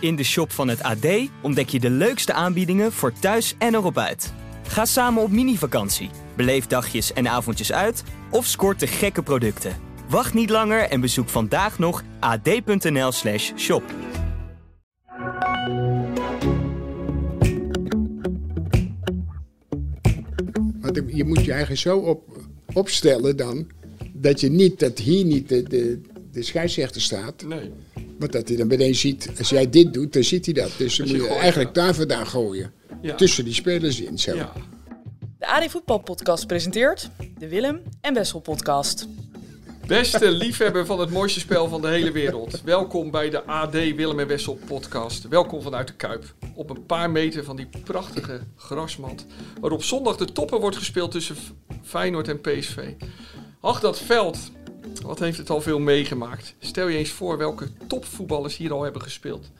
In de shop van het AD ontdek je de leukste aanbiedingen voor thuis en erop uit. Ga samen op mini-vakantie, beleef dagjes en avondjes uit of scoort de gekke producten. Wacht niet langer en bezoek vandaag nog ad.nl/slash shop. Want je moet je eigen zo op, opstellen dan, dat je niet, dat hier niet de, de, de scheidsrechter staat. Nee. Want dat hij dan meteen ziet, als jij dit doet, dan ziet hij dat. Dus dan je moet je gooit, eigenlijk daar vandaan gooien. Ja. Tussen die spelers in zo. Ja. De AD Voetbal Podcast presenteert de Willem en Wessel Podcast. Beste liefhebber van het mooiste spel van de hele wereld. Welkom bij de AD Willem en Wessel podcast. Welkom vanuit de Kuip. Op een paar meter van die prachtige grasmat. Waar op zondag de toppen wordt gespeeld tussen F- Feyenoord en PSV. Ach, dat veld. Wat heeft het al veel meegemaakt. Stel je eens voor welke topvoetballers hier al hebben gespeeld.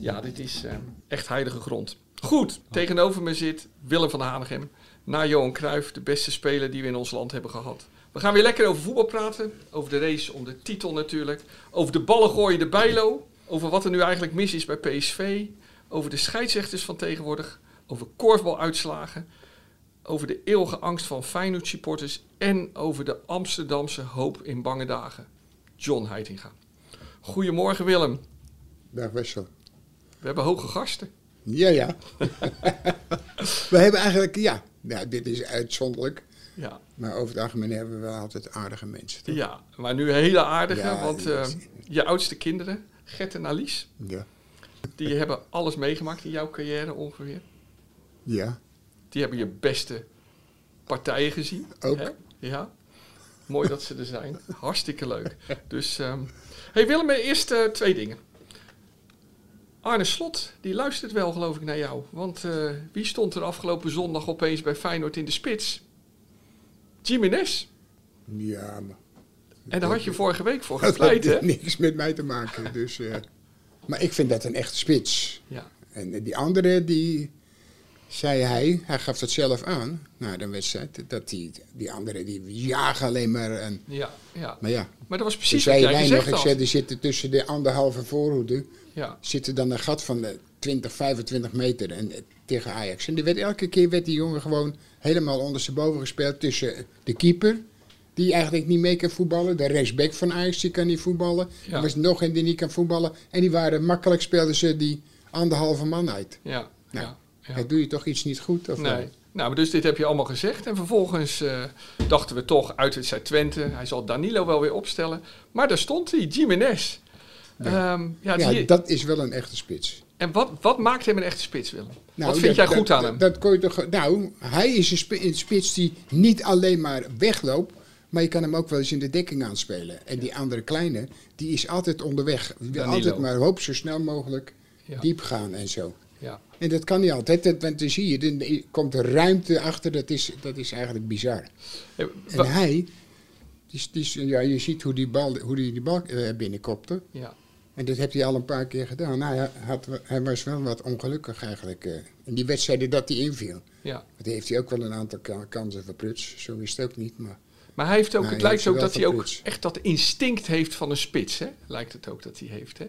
Ja, dit is eh, echt heilige grond. Goed, tegenover me zit Willem van Hanegem. Na Johan Cruijff, de beste speler die we in ons land hebben gehad. We gaan weer lekker over voetbal praten. Over de race om de titel natuurlijk. Over de ballen gooien de bijlo. Over wat er nu eigenlijk mis is bij PSV. Over de scheidsrechters van tegenwoordig. Over korfbaluitslagen. Over de eeuwige angst van Feyenoord supporters. En over de Amsterdamse hoop in bange dagen. John Heitinga. Goedemorgen Willem. Dag Wessel. We hebben hoge gasten. Ja, ja. we hebben eigenlijk, ja, nou, dit is uitzonderlijk. Ja, Maar over het algemeen hebben we wel altijd aardige mensen. toch? ja. maar nu hele aardige, Ja, want die- eh, je oudste kinderen, Gert en Alice, Ja. die hebben alles meegemaakt in jouw carrière ongeveer. Ja. Die hebben je beste partijen gezien. Ook. Ja. Mooi dat ze er zijn. Hartstikke leuk. Dus, ehm hey Willem, eerst eh, twee dingen. Arne Slot, die luistert wel geloof ik naar jou. Want eh, wie stond er afgelopen zondag opeens bij Feyenoord in de spits? Jiménez. Ja, maar En daar had je vorige week voor dat heeft gepleit, hè? niks met mij te maken. Dus, eh, maar ik vind dat een echte spits. Ja. En eh, die andere, die zei hij, hij gaf dat zelf aan na de wedstrijd, dat die, die andere die jagen alleen maar. En, Ja, ja. maar ja, Maar dat was toen precies wat zei jij hij nog, gezegd ik had. zei, er zitten tussen de anderhalve voorhoede, Ja, zit er dan een gat van de 20, 25 meter en, eh, tegen Ajax. En die werd, elke keer werd die jongen gewoon helemaal ondersteboven gespeeld tussen eh, de keeper, die eigenlijk niet mee kan voetballen, de rechtsback van Ajax, die kan niet voetballen. Ja. Er was nog een die niet kan voetballen. En die waren makkelijk, speelden ze die anderhalve man uit. ja, Nou, ja. ja. Hij doe je toch iets niet goed? Of eh, Nee. wel? Nou, maar dus dit heb je allemaal gezegd. En vervolgens eh, dachten we toch, uitwedstrijd Twente. Hij zal Danilo wel weer opstellen. Maar daar stond hij, Jiménez. Ja, ja, Ja, zie je- dat is wel een echte spits. En wat, wat maakt hem een echte spits, Willem? Nou, wat vind dat- jij goed dat- aan hem? Dat, kon je toch, nou, hij is een, spi- een spits die niet alleen maar wegloopt, maar je kan hem ook wel eens in de dekking aanspelen. En die andere kleine, die is altijd onderweg. Die wil Danilo. altijd maar hoop zo snel mogelijk Ja. diep gaan en zo. ja. En dat kan niet altijd, dat- want dan zie je, dan komt er ruimte achter, dat is, dat is eigenlijk bizar. Eh, En wa- hij, die, is- die, is- ja, je ziet hoe die bal, hoe die, die bal eh, binnenkopte. ja. En dat heeft hij al een paar keer gedaan. Nou, hij, had, hij was wel wat ongelukkig eigenlijk. eh, in die wedstrijden dat hij inviel. ja. Want hij heeft hij ook wel een aantal ka- kansen verpruts. Zo is het ook niet. Maar Maar hij heeft ook, Nee, het Nou, hij lijkt heeft ook wel dat hij ook verprutst. echt dat instinct heeft van een spits, hè? Lijkt het ook dat hij heeft, hè?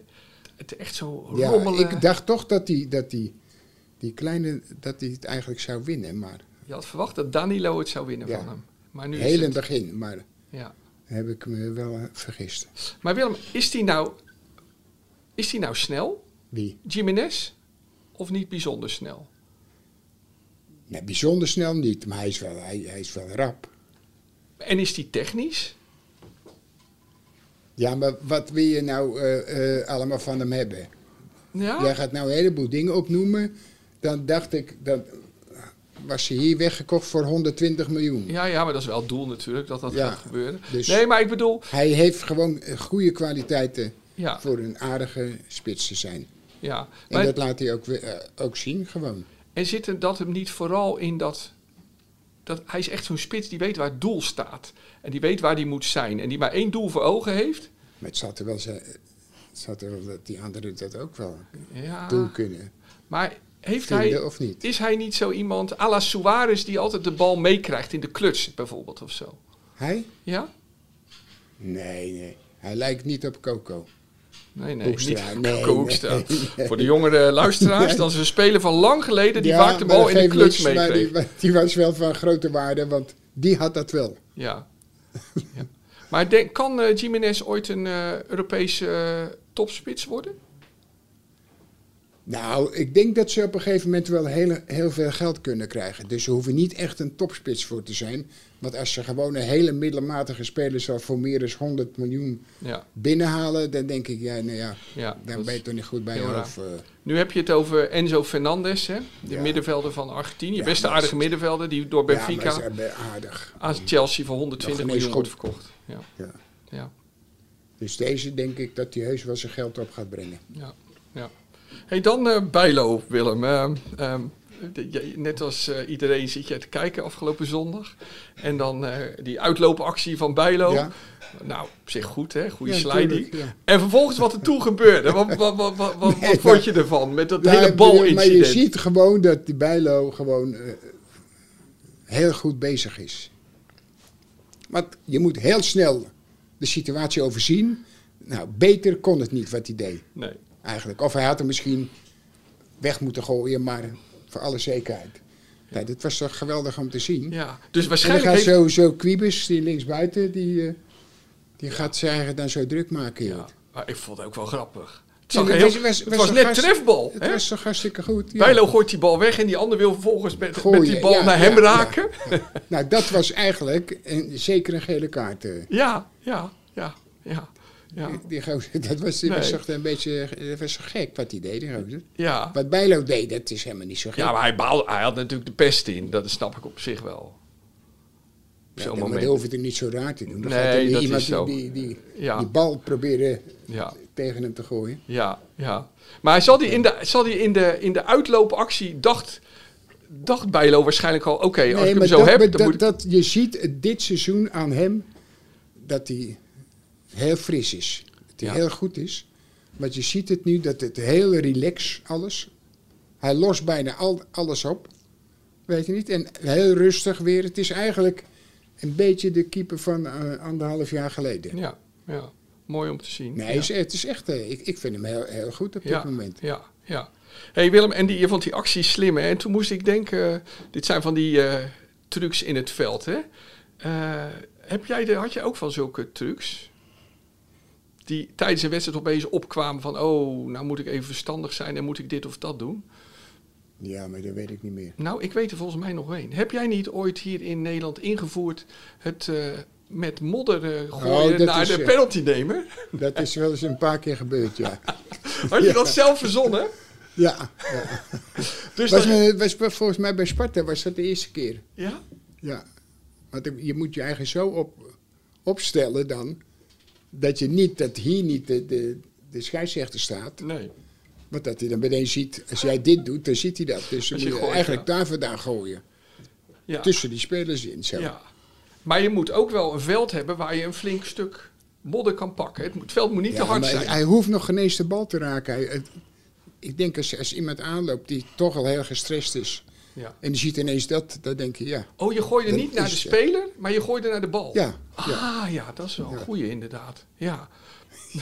Het echt zo ja, rommelen. ik dacht toch dat hij, dat hij die kleine, dat hij het eigenlijk zou winnen. Maar Je had verwacht dat Danilo het zou winnen Ja. van hem. Maar nu heel in is het het... begin. Maar Ja. heb ik me wel eh, vergist. Maar Willem, is die nou, is die nou snel, Wie? Jiménez? Of niet bijzonder snel? Nee, bijzonder snel niet. Maar hij is wel, hij, hij is wel rap. En is die technisch? Ja, maar wat wil je nou eh, eh, allemaal van hem hebben? Ja? Jij gaat nou een heleboel dingen opnoemen. Dan dacht ik, dan was ze hier weggekocht voor 120 miljoen. Ja, ja, maar dat is wel het doel natuurlijk, dat dat Ja, gaat gebeuren. dus- Nee, maar ik bedoel... Hij heeft gewoon eh, goede kwaliteiten Ja, voor een aardige spits te zijn. ja. En Maar, dat laat hij ook, weer, eh, ook zien, gewoon. en zit er dat hem niet vooral in dat... dat hij is echt zo'n spits die weet waar het doel staat. En die weet waar die moet zijn. En die maar één doel voor ogen heeft. Maar het zat er wel, zijn- het zat er wel dat die anderen dat ook wel Ja, doen kunnen. maar heeft hij... Vinden of niet? Is hij niet zo iemand, à la Suarez, die altijd de bal meekrijgt in de kluts bijvoorbeeld of zo? Hij? Ja? Nee, nee. Hij lijkt niet op Coco. Nee, nee, Hoekstra, niet nee, Koko nee, Hoekstra. Voor de jongere luisteraars, dat is een speler van lang geleden die Ja, vaak de maar bal dat in de geeft kluts niks, maar meekreeg. die, maar die was wel van grote waarde, want die had dat wel. Ja. ja. Maar denk, kan eh Jiménez ooit een eh, Europese eh, topspits worden? Nou, ik denk dat ze op een gegeven moment wel heel, heel veel geld kunnen krijgen. Dus ze hoeven niet echt een topspits voor te zijn. Want als ze gewoon een hele middelmatige speler zou voor meer dan 100 miljoen Ja, binnenhalen, dan denk ik, ja, nou ja, ja. daar dat ben is- je toch niet goed bij je heel raar. hoofd. eh. Nu heb je het over Enzo Fernandez, hè? de Ja. middenvelder van Argentinië. Ja, Beste maar- aardige middenvelder die door Ja, Benfica maar ze hebben eh, aardig. aan Chelsea voor 120 Nog ineens miljoen wordt goed. verkocht. Ja, Ja. ja, Dus deze denk ik dat hij heus wel zijn geld op gaat brengen. ja. ja. Hey, dan eh, Bijlo, Willem. Ehm, ehm, de- jij- net als eh, iedereen zit jij te kijken afgelopen zondag. En dan eh, die uitloopactie van Bijlo. Ja. Nou, op zich goed, hè? Goede Ja, sliding. tuurlijk, ja. En vervolgens wat er toen gebeurde. Wat, wat, wat, wat, wat, Nee, wat maar- vond je ervan? Met dat Ja, hele ik bedoel, Maar je balincident. ziet gewoon dat die Bijlo gewoon eh, heel goed bezig is. Want je moet heel snel de situatie overzien. Nou, beter kon het niet wat hij deed Nee. eigenlijk. Of hij had hem misschien weg moeten gooien, maar voor alle zekerheid. Nou, dit was toch geweldig om te zien. Ja, dus en dan waarschijnlijk gaat heeft... sowieso Kwiebes, die linksbuiten, die, eh, die gaat zijn eigen dan zo druk maken. joh. Ja, maar ik vond het ook wel grappig. Het, Ja, zag het heel- was- was- het was was een net gast- trefbal. Het hè? was toch hartstikke goed. ja. Bijlo gooit die bal weg en die ander wil vervolgens met, Gooien, met die bal ja, naar hem ja, ja. raken. Ja, Nou, dat was eigenlijk een, zeker een gele kaart. eh. ja, ja, ja. ja. Die gozer, dat was, die Nee. was echt een beetje dat was zo gek wat hij deed, die gozer. Ja. Wat Bijlo deed, dat is helemaal niet zo gek. Ja, maar hij, baalde, hij had natuurlijk de pest in. Dat snap ik op zich wel. Op Ja, Zo'n maar moment. Nou, dat hoef je er niet zo raar te doen. Dan Nee, gaat er weer dat iemand is zo. Die, die, Ja. die bal proberen Ja, tegen hem te gooien. ja, ja. Maar zal die in de, zal die in de, in de uitloopactie dacht, dacht Bijlo waarschijnlijk al... Oké, als ik hem maar zo dat, heb, maar dan dat, moet ik... dat, je ziet dit seizoen aan hem dat hij heel fris is. Dat hij Ja. heel goed is. Want je ziet het nu, dat het heel relax alles. Hij lost bijna al, alles op. Weet je niet? En heel rustig weer. Het is eigenlijk een beetje de keeper van eh, anderhalf jaar geleden. Ja, ja. Mooi om te zien. Nee, ja. het is- het is echt... eh, ik, ik vind hem heel, heel goed op ja, dit moment. Ja, ja. hey Willem, en die, je vond die actie slim, hè? En toen moest ik denken, eh, dit zijn van die eh, trucs in het veld, hè? Eh, heb jij de, had je ook van zulke trucs? Die tijdens een wedstrijd opeens opkwamen van... oh, nou moet ik even verstandig zijn en moet ik dit of dat doen. Ja, maar dat weet ik niet meer. Nou, ik weet er volgens mij nog één. Heb jij niet ooit hier in Nederland ingevoerd... het eh, met modder eh, gooien dat naar is, de eh, penaltynemer? Dat is wel eens een paar keer gebeurd, ja. Had je dat zelf verzonnen? Ja. ja. Dus Was, dat- me- was, be- volgens mij bij Sparta was dat de eerste keer. ja? Ja. Want ik- je moet je eigen zo op, opstellen dan... dat je niet, dat hier niet de, de, de scheidsrechter staat... Nee. want dat hij dan meteen ziet... als jij dit doet, dan ziet hij dat. Dus dan Als je moet je gooit, eigenlijk ja. daar vandaan gooien. Ja. Tussen die spelers in, zo. Ja. Maar je moet ook wel een veld hebben waar je een flink stuk modder kan pakken. Het, moet- het veld moet niet Ja, te hard maar zijn. Hij hoeft nog geen eens de bal te raken. Hij- het- ik denk als, als iemand aanloopt die toch al heel gestrest is... Ja. en die ziet ineens dat, dan denk je, ja... Oh, je gooide Dat niet naar de is- speler, maar je gooide naar de bal. Ja, Ah, ja, dat is wel een goeie inderdaad. Ja.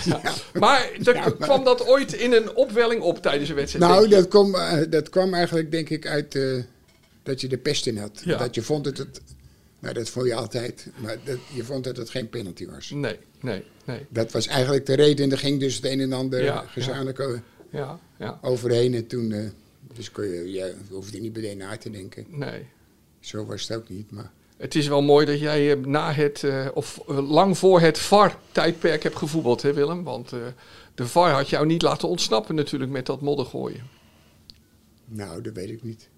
Ja. Maar, er kwam dat ooit in een opwelling op tijdens een wedstrijd? Nou, denk je? dat kwam, eh, dat kwam eigenlijk denk ik uit eh, dat je de pest in had. Ja. Dat je vond dat het, nou dat vond je altijd, maar dat, je vond dat het geen penalty was. Nee, nee, nee. Dat was eigenlijk de reden en er ging dus het een en ander Ja, gezamenlijk o- Ja, ja. overheen. En toen, eh, dus kon je, je hoefde er niet meteen na te denken. Nee. Zo was het ook niet, maar Het is wel mooi dat jij eh, na het, eh, of eh, lang voor het VAR-tijdperk hebt gevoetbald, hè Willem? Want eh, de VAR had jou niet laten ontsnappen natuurlijk met dat modder gooien. nou, dat weet ik niet.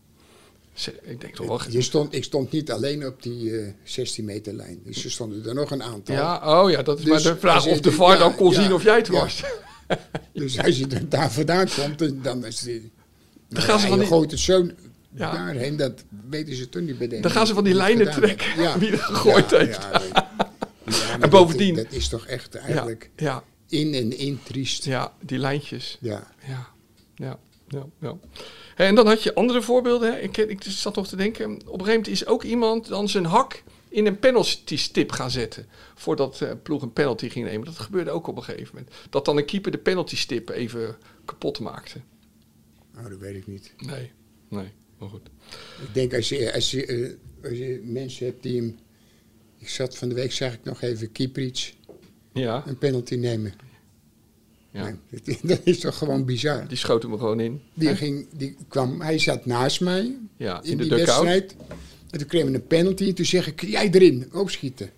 Ze- Ik denk toch wel. ge- Eh, Je stond, ik stond niet alleen op die eh 16 meter lijn, dus er stonden er nog een aantal. Ja, oh ja, dat is Dus maar de vraag als je of de dit- VAR ja, dan kon ja, zien of jij het ja. was. Dus als je er daar vandaan komt, dan- dan is het... Dan gaan ze van je die- gooit het zo Ja. daarheen, dat weten ze toen niet bedenken. Dan gaan ze van die lijnen trekken, wie er gegooid heeft. Ja, nee. Ja, maar dat- bovendien- Dat, is toch echt Ja, eigenlijk ja, in en in triest. Ja. ja, die lijntjes. Ja, ja, ja. ja. En dan had je andere voorbeelden. hè. Ik, ik zat nog te denken, op een gegeven moment is ook iemand dan zijn hak in een penalty stip gaan zetten. Voordat eh, een ploeg een penalty ging nemen. Dat gebeurde ook op een gegeven moment. Dat dan een keeper de penalty stip even kapot maakte. Nou, dat weet ik niet. Nee, nee, maar goed. Ik denk als je, als je, eh, als je mensen hebt die hem... Ik zat van de week, zag ik nog even Kieprits Ja, een penalty nemen. ja. Nee, dat- dat is toch gewoon bizar. die schoten me gewoon in. Die, ging, die kwam, hij zat naast mij Ja, in in de die dugout. wedstrijd. En toen kregen we een penalty. En toen zeg ik, jij erin, opschieten.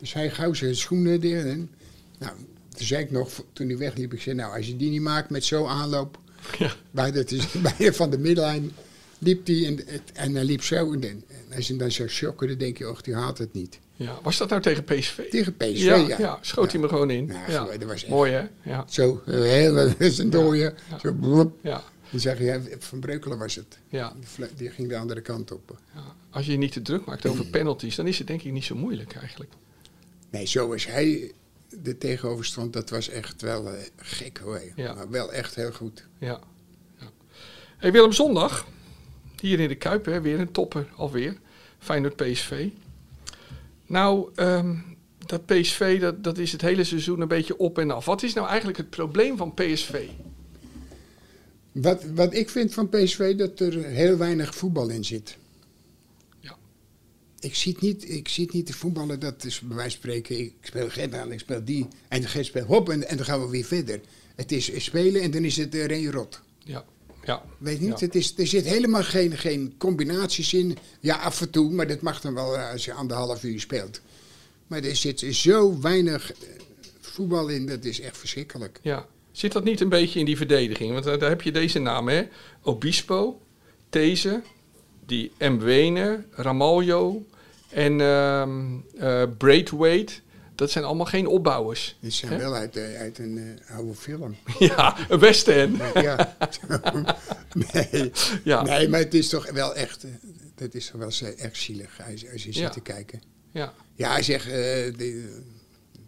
Dus hij gauw zijn schoenen erin. En, nou, toen zei ik nog, toen hij wegliep, ik zei, nou, als je die niet maakt met zo'n aanloop. Ja. Bij, dat is, bij van de middenlijn liep hij en, het- en hij liep zo. En, en als je hem dan zou shocken, dan denk je, och, die haalt het niet. Ja, was dat nou tegen PSV? Tegen PSV, ja, ja. ja. schoot hij me gewoon in. Nou, ja. dat was echt- Mooi hè? Ja. Zo, eh, heel, dat is een dooie. Zo, bloep. Ja. Dan zeg je, ja, Van Breukelen was het. Ja. Die vle- Die ging de andere kant op. ja. Als je je niet te druk maakt over Mm. penalties, dan is het denk ik niet zo moeilijk eigenlijk. Nee, zo is hij er tegenover stond, dat was echt wel eh, gek hoor. Ja. Maar wel echt heel goed. Ja. ja. Hey, Willem Zondag, hier in de Kuip, hè, weer een topper alweer. Feyenoord PSV. Nou, ehm, dat PSV, dat, dat is het hele seizoen een beetje op en af. Wat is nou eigenlijk het probleem van PSV? Wat, wat ik vind van PSV, dat er heel weinig voetbal in zit. Ja. Ik zie het niet, ik zie het niet de voetballen, dat is bij wijze van spreken, ik speel geen aan, ik speel die. En de geest speelt hop, en, en dan gaan we weer verder. Het is spelen en dan is het er een rot. Ja. Ja. Weet niet, Ja. het is, er zit helemaal geen, geen combinaties in. Ja, af en toe, maar dat mag dan wel eh, als je anderhalf uur speelt. Maar er zit zo weinig eh, voetbal in, dat is echt verschrikkelijk. Ja. Zit dat niet een beetje in die verdediging? Want eh, daar heb je deze namen, hè? Obispo, These, die Mwene, Ramaljo en ehm eh, Braithwaite. Dat zijn allemaal geen opbouwers. Dit zijn wel uit, eh, uit een eh, oude film. ja, een West Ham. ja. nee. Ja. nee, maar het is toch wel echt, eh, dat is toch wel ze- echt zielig als, als je zit Ja. te kijken. Ja, Ja, hij zegt, eh, die, eh,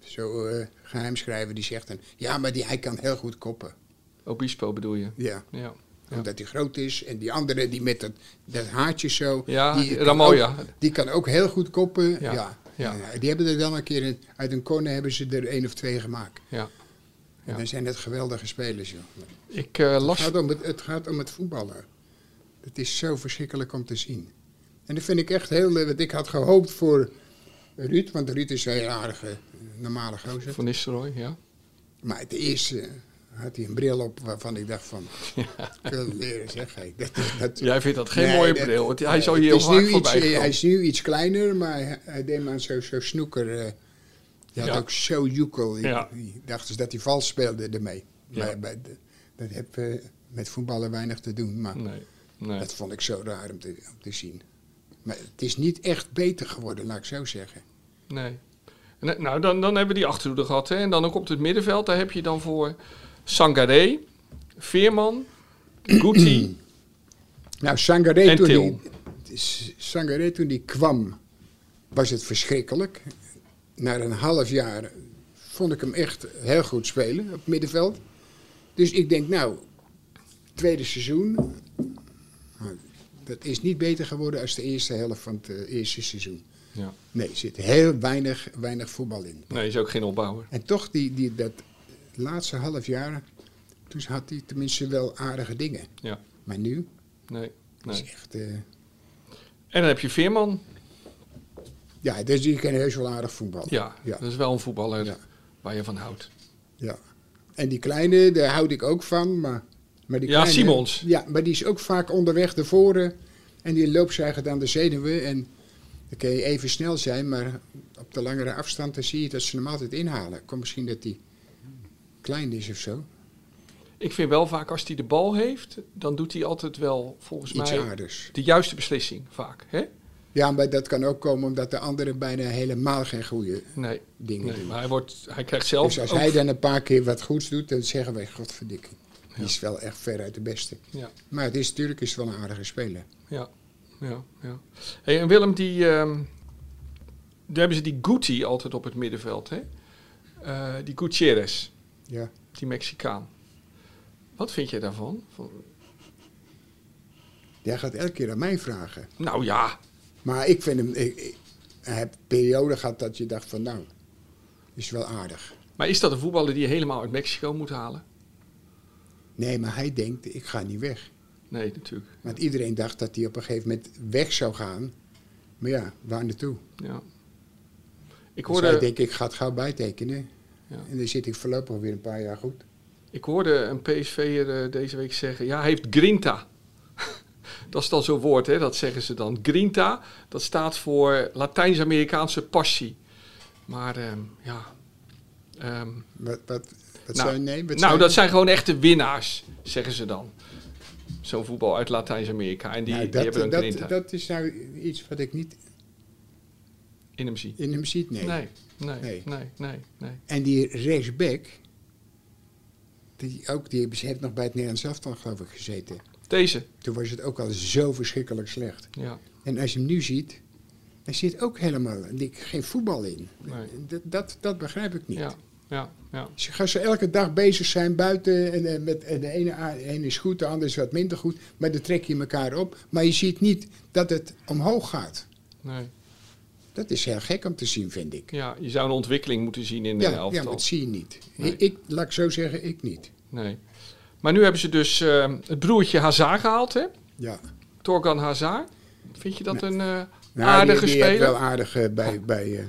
zo eh, geheimschrijver, die zegt dan, ja, maar die, hij kan heel goed koppen. Obispo bedoel je. Ja. Ja. Omdat hij groot is. En die andere die met dat, dat haartje zo. Ja, die kan Ramalja. ook- Die kan ook heel goed koppen. Ja, Ja. ja. Ja, Die hebben er dan een keer een- uit een corner hebben ze er één of twee gemaakt. ja. Ja. En dan zijn dat geweldige spelers, joh. Ik eh, Het las. gaat, om het, het gaat om het voetballen. Het is zo verschrikkelijk om te zien. En dat vind ik echt heel... eh, Want ik had gehoopt voor Ruud. Want Ruud is een heel aardige, eh, normale gozer. Van Nistelrooy, ja. Maar het eerste had hij een bril op waarvan ik dacht van... Ik wil het leren zeggen. Dat, is- dat, Jij vindt dat geen Nee, mooie dat- bril, want hij nee, zou het hier heel is nu vaak iets- voorbij eh, Hij komen. is nu iets kleiner, maar hij, hij deed me aan zo'n zo snoeker. eh, die had Ja. ook zo joekel. Die, Ja. die dacht dus dat hij vals speelde ermee. Ja. Maar, bij de- dat heeft eh, met voetballen weinig te doen, maar Nee, nee. dat vond ik zo raar om te, om te zien. Maar het is niet echt beter geworden, laat ik zo zeggen. Nee. En, eh, Nou, dan, dan hebben we die achterhoede gehad. Hè? En dan ook op het middenveld, daar heb je dan voor Sangaré, Veerman, Guti. Nou, Sangaré En toen, Til. die- S- Sangaré toen die kwam, was het verschrikkelijk. Na een half jaar vond ik hem echt heel goed spelen op het middenveld. Dus ik denk, nou, tweede seizoen. nou, Dat is niet beter geworden als de eerste helft van het eh, eerste seizoen. ja. Nee, er zit heel weinig, weinig voetbal in. Nee, is ook geen opbouwer. En toch, die, die, dat laatste half jaar, toen had hij tenminste wel aardige dingen. Ja, Maar nu, nee. dat nee. is echt... eh, En dan heb je Veerman. Ja, dus die kennen heus wel aardig voetbal. Ja, ja. dat is wel een voetballer Ja. waar je van houdt. ja. En die kleine, daar houd ik ook van. Maar, maar die Ja, kleine, Simons. Ja, maar die is ook vaak onderweg naar voren. En die loopzuigt aan de zenuwen. En dan kun je even snel zijn, maar op de langere afstand dan zie je dat ze hem altijd inhalen. Komt misschien dat die klein is of zo. Ik vind wel vaak als hij de bal heeft, dan doet hij altijd wel volgens Iets mij aardigs. de juiste beslissing vaak. Hè? Ja, maar dat kan ook komen omdat de anderen bijna helemaal geen goede Nee, dingen nee, doen. maar hij, wordt, hij krijgt zelf Dus als ook- hij dan een paar keer wat goeds doet, dan zeggen wij, godverdikking. Die is wel echt veruit de beste. Ja. Maar het is natuurlijk is het wel een aardige speler. Ja, ja, ja. Hey, en Willem, die, ehm, daar hebben ze die Guti altijd op het middenveld, hè? Eh, die Gutierrez, Ja. die Mexicaan. Wat vind jij daarvan? Van- Jij gaat elke keer aan mij vragen. nou ja, Maar ik vind hem... Ik, ik, heb periode gehad dat je dacht van nou, is wel aardig. Maar is dat een voetballer die je helemaal uit Mexico moet halen? Nee, maar hij denkt, ik ga niet weg. Nee, natuurlijk. Want iedereen dacht dat hij op een gegeven moment weg zou gaan. Maar ja, waar naartoe? Ja. Ik Dus hij hoorde, denkt, ik ga het gauw bijtekenen. Ja. En dan zit ik voorlopig weer een paar jaar goed. ik hoorde een PSV'er eh, deze week zeggen, ja, hij heeft grinta. dat is dan zo'n woord, hè? dat zeggen ze dan. Grinta, dat staat voor Latijns-Amerikaanse passie. Maar ehm, ja... ehm, Wat, wat, wat Nou, zou je nemen? Wat zou nou, je- dat zijn gewoon echte winnaars, zeggen ze dan. Zo'n voetbal uit Latijns-Amerika. En die, Nou, die dat, hebben dan dat, grinta dat is nou iets wat ik niet in hem zie. in hem ziet, nee. Nee, nee, nee, Nee. nee, nee. En die rechtsback, die, ook, die heeft nog bij het Nederlands elftal geloof ik gezeten. Deze, Toen was het ook al zo verschrikkelijk slecht. ja. En als je hem nu ziet, er zit ook helemaal dik- geen voetbal in. Nee. Dat, dat, dat begrijp ik niet. Ja, ja, ja. Ze gaan ze elke dag bezig zijn buiten en, eh, met, en de ene, a- de ene is goed, de andere is wat minder goed. Maar dan trek je elkaar op. Maar je ziet niet dat het omhoog gaat. Nee. Dat is heel gek om te zien, vind ik. ja, je zou een ontwikkeling moeten zien in de Ja, ja, maar elftal. dat zie je niet. Nee. Ik, laat ik zo zeggen, ik niet. nee. Maar nu hebben ze dus eh, het broertje Hazard gehaald, hè? Ja. Torgan Hazard. Vind je dat een eh, Nou, aardige die, die heeft speler? wel aardig eh, bij, bij, eh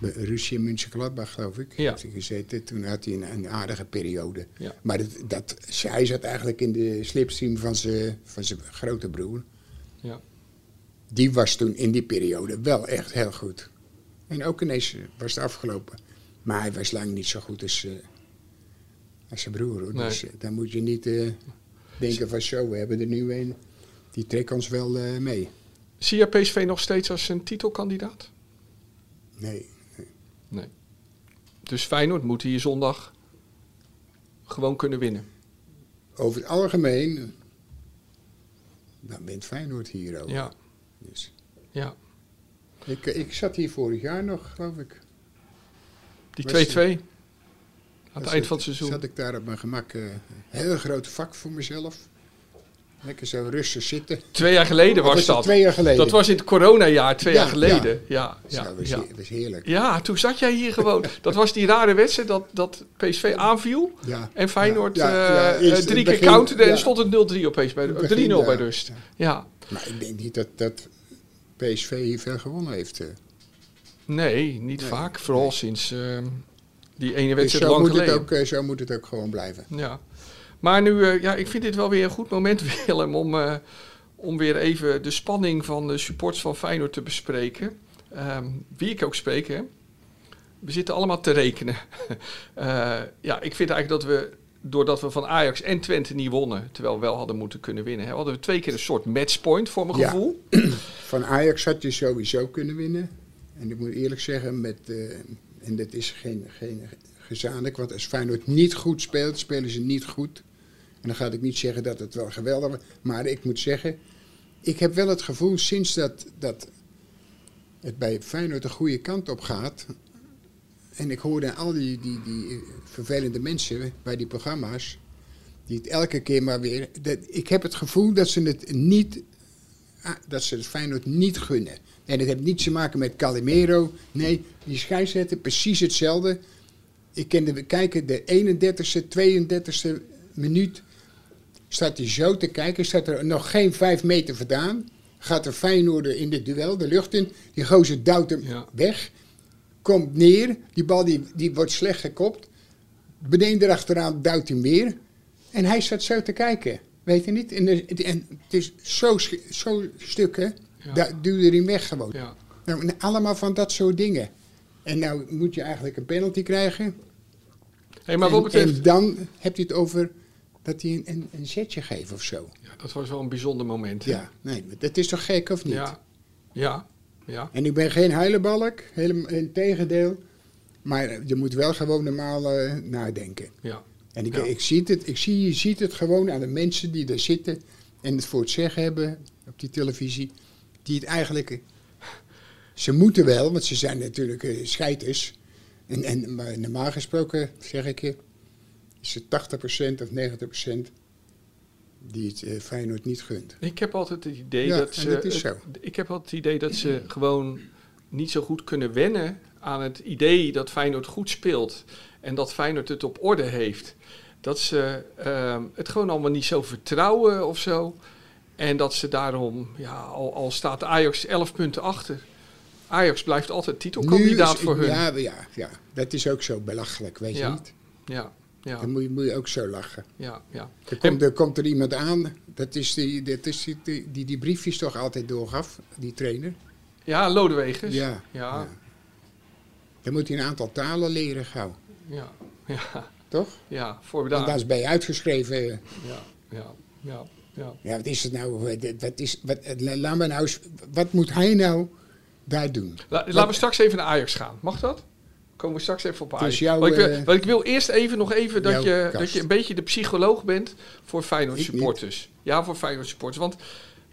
bij Ruzie in München-Gladbach, geloof ik, Ja. heeft hij gezeten. Toen had hij een, een aardige periode. Ja. Maar dat, dat, hij zat eigenlijk in de slipstream van zijn van zijn grote broer. Ja. Die was toen in die periode wel echt heel goed. En ook ineens eh, was het afgelopen. Maar hij was lang niet zo goed als, eh, als zijn broer. Hoor. Nee. Dus eh, dan moet je niet eh, denken van zo, we hebben er nu een. Die trekt ons wel eh, mee. Zie je PSV nog steeds als een titelkandidaat? Nee, Nee. Dus Feyenoord moet hier zondag gewoon kunnen winnen. over het algemeen, dan bent Feyenoord hier ook. Ja, Dus ja. ik, ik zat hier vorig jaar nog, geloof ik. Die 2-2. Was- Aan het Dan eind zat- van het seizoen. Zat ik daar op mijn gemak. eh, een heel groot vak voor mezelf. Lekker zo rustig zitten. Twee jaar geleden Of was is het dat. twee jaar geleden? Dat was in het coronajaar, twee Ja, jaar geleden. Ja, Ja, ja, dat was, ja. he- was heerlijk. Ja, toen zat jij hier gewoon. Dat was die rare wedstrijd dat, dat PSV aanviel. Ja. En Feyenoord Ja, ja, ja, eh, eerst eh, drie het keer begin, counterde en ja. stond het 0-3 opeens bij, Het eh, 3-0 begin, bij ja. rust. Ja, Maar ik denk niet dat, dat PSV hier veel gewonnen heeft. eh. nee, niet Nee, vaak. Vooral sinds ehm, die ene Dus wedstrijd zo lang moet, het geleden. ook, eh, zo moet het ook gewoon blijven. Ja. Maar nu, eh, ja, ik vind dit wel weer een goed moment, Willem, om, eh, om weer even de spanning van de supports van Feyenoord te bespreken. Ehm, wie ik ook spreek, hè. We zitten allemaal te rekenen. Eh, ja, ik vind eigenlijk dat we, doordat we van Ajax en Twente niet wonnen, terwijl we wel hadden moeten kunnen winnen, hè, hadden we twee keer een soort matchpoint voor mijn Ja. gevoel. Van Ajax had je sowieso kunnen winnen. En ik moet eerlijk zeggen, met, eh, en dat is geen, geen gezanik, want als Feyenoord niet goed speelt, spelen ze niet goed. En dan ga ik niet zeggen dat het wel geweldig was, maar ik moet zeggen, ik heb wel het gevoel sinds dat, dat het bij Feyenoord de goede kant op gaat. En ik hoorde al die, die, die eh, vervelende mensen bij die programma's, die het elke keer maar weer. Dat, ik heb het gevoel dat ze het niet Ah, dat ze het Feyenoord niet gunnen. En dat heeft niets te maken met Calimero. Nee, die scheidsrechter precies hetzelfde. Ik kende we kijken de 31ste, 32ste minuut. Staat hij zo te kijken, staat er nog geen vijf meter vandaan. Gaat de Feyenoorder in dit duel de lucht in. Die gozer duwt hem Ja. weg. Komt neer. Die bal die, die wordt slecht gekopt. Beneden erachteraan duwt hij hem weer. En hij staat zo te kijken. Weet je niet? En, er- het- en het is zo, sch- zo stukken. Ja. Daar duwde hij hem weg gewoon. Ja. Nou, en allemaal van dat soort dingen. En nou moet je eigenlijk een penalty krijgen. Hey, maar wat en, betreft, en dan heb je het over dat hij een, een, een zetje geeft of zo. ja, dat was wel een bijzonder moment. hè? Ja, nee, maar dat is toch gek of niet? ja, ja, ja. En ik ben geen huilenbalk, helemaal in tegendeel. Maar je moet wel gewoon normaal eh, nadenken. ja. En ik, Ja. ik zie het, ik zie, je ziet het gewoon aan de mensen die daar zitten en het voor het zeggen hebben op die televisie. Die het eigenlijk. eh, Ze moeten wel, want ze zijn natuurlijk eh, scheiters. En, en maar normaal gesproken, zeg ik je, is het 80% of 90% die het eh, Feyenoord niet gunt. Ik heb altijd het idee Ja, dat en ze. dat is het- zo. ik heb altijd het idee dat ze gewoon niet zo goed kunnen wennen aan het idee dat Feyenoord goed speelt en dat Feyenoord het op orde heeft. Dat ze ehm, het gewoon allemaal niet zo vertrouwen of zo. En dat ze daarom, ja, al, al staat Ajax 11 punten achter. Ajax blijft altijd titelkandidaat is- voor hun. Ja, Ja, ja, ja, dat is ook zo belachelijk, weet Ja. je niet? ja, ja. Dan moet je, moet je ook zo lachen. ja, Er komt er, komt er iemand aan, dat is, die, dat is die, die, die die briefjes toch altijd doorgaf, die trainer. Ja, Lodewegers. Ja, Ja, Dan moet hij een aantal talen leren gauw, ja, ja. toch? Ja, Want daar voorbedaard. is bij uitgeschreven. eh, Ja, ja, ja, ja. Ja, wat is het nou? eh, dit- Wat is, wat, eh, la- laat me nou eens- wat moet hij nou daar doen? La- laten we straks even naar Ajax gaan. Mag dat? Komen we straks even op Ajax. is jouw, want, ik wil, eh, want ik wil eerst even nog even dat jouw je, kast. dat je een beetje de psycholoog bent voor Feyenoord Ik niet. supporters. Ja, voor Feyenoord supporters. Want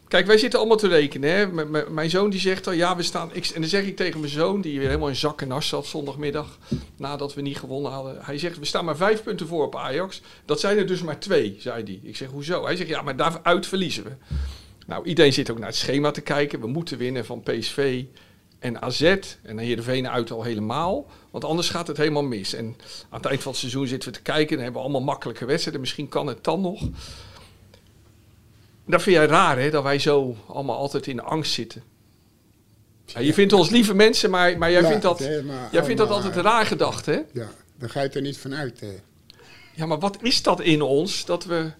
kijk, wij zitten allemaal te rekenen. Hè? M- m- mijn zoon die zegt al, ja, we staan... Ik, en dan zeg ik tegen mijn zoon, die weer helemaal in zak en as zat zondagmiddag... nadat we niet gewonnen hadden. Hij zegt, we staan maar vijf punten voor op Ajax. Dat zijn er dus maar twee, zei hij. Ik zeg, hoezo? Hij zegt, ja, maar daaruit verliezen we. Nou, iedereen zit ook naar het schema te kijken. We moeten winnen van PSV en AZ. En dan Heerenveen uit al helemaal. Want anders gaat het helemaal mis. En aan het eind van het seizoen zitten we te kijken. Dan hebben we allemaal makkelijke wedstrijden. Misschien kan het dan nog. Dat vind jij raar, hè? Dat wij zo allemaal altijd in angst zitten. Ja, je vindt ons lieve mensen, maar, maar jij, Ja, vindt dat, het is maar jij vindt dat allemaal- altijd raar gedacht, hè? Ja, dan ga je er niet van uit. eh. Ja, maar wat is dat in ons dat we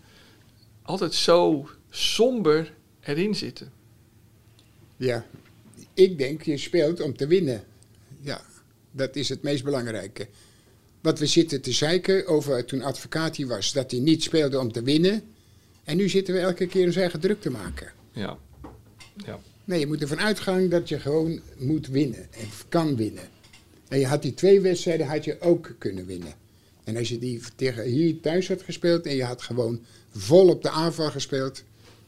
altijd zo somber erin zitten? Ja, ik denk je speelt om te winnen. Ja, dat is het meest belangrijke. Wat we zitten te zeiken over toen advocaat hier was, dat hij niet speelde om te winnen. En nu zitten we elke keer ons eigen druk te maken. Ja. Ja. Nee, je moet ervan uitgaan dat je gewoon moet winnen en kan winnen. En je had die twee wedstrijden had je ook kunnen winnen. En als je die tegen hier thuis had gespeeld en je had gewoon vol op de aanval gespeeld,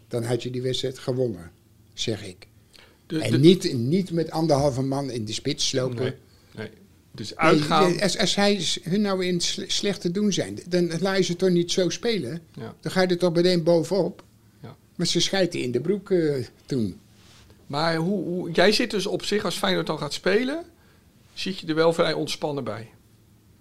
dan had je die wedstrijd gewonnen, zeg ik. De- de- En niet, niet met anderhalve man in de spits lopen. Nee. nee. Dus uitgaan. Nee, als, als zij s- hun nou in sle- slecht te doen zijn, dan laat je ze toch niet zo spelen. Ja. Dan ga je er toch meteen bovenop. Ja. Maar ze schijten in de broek eh, toen. Maar hoe, hoe, jij zit dus op zich, als Feyenoord dan gaat spelen, zit je er wel vrij ontspannen bij.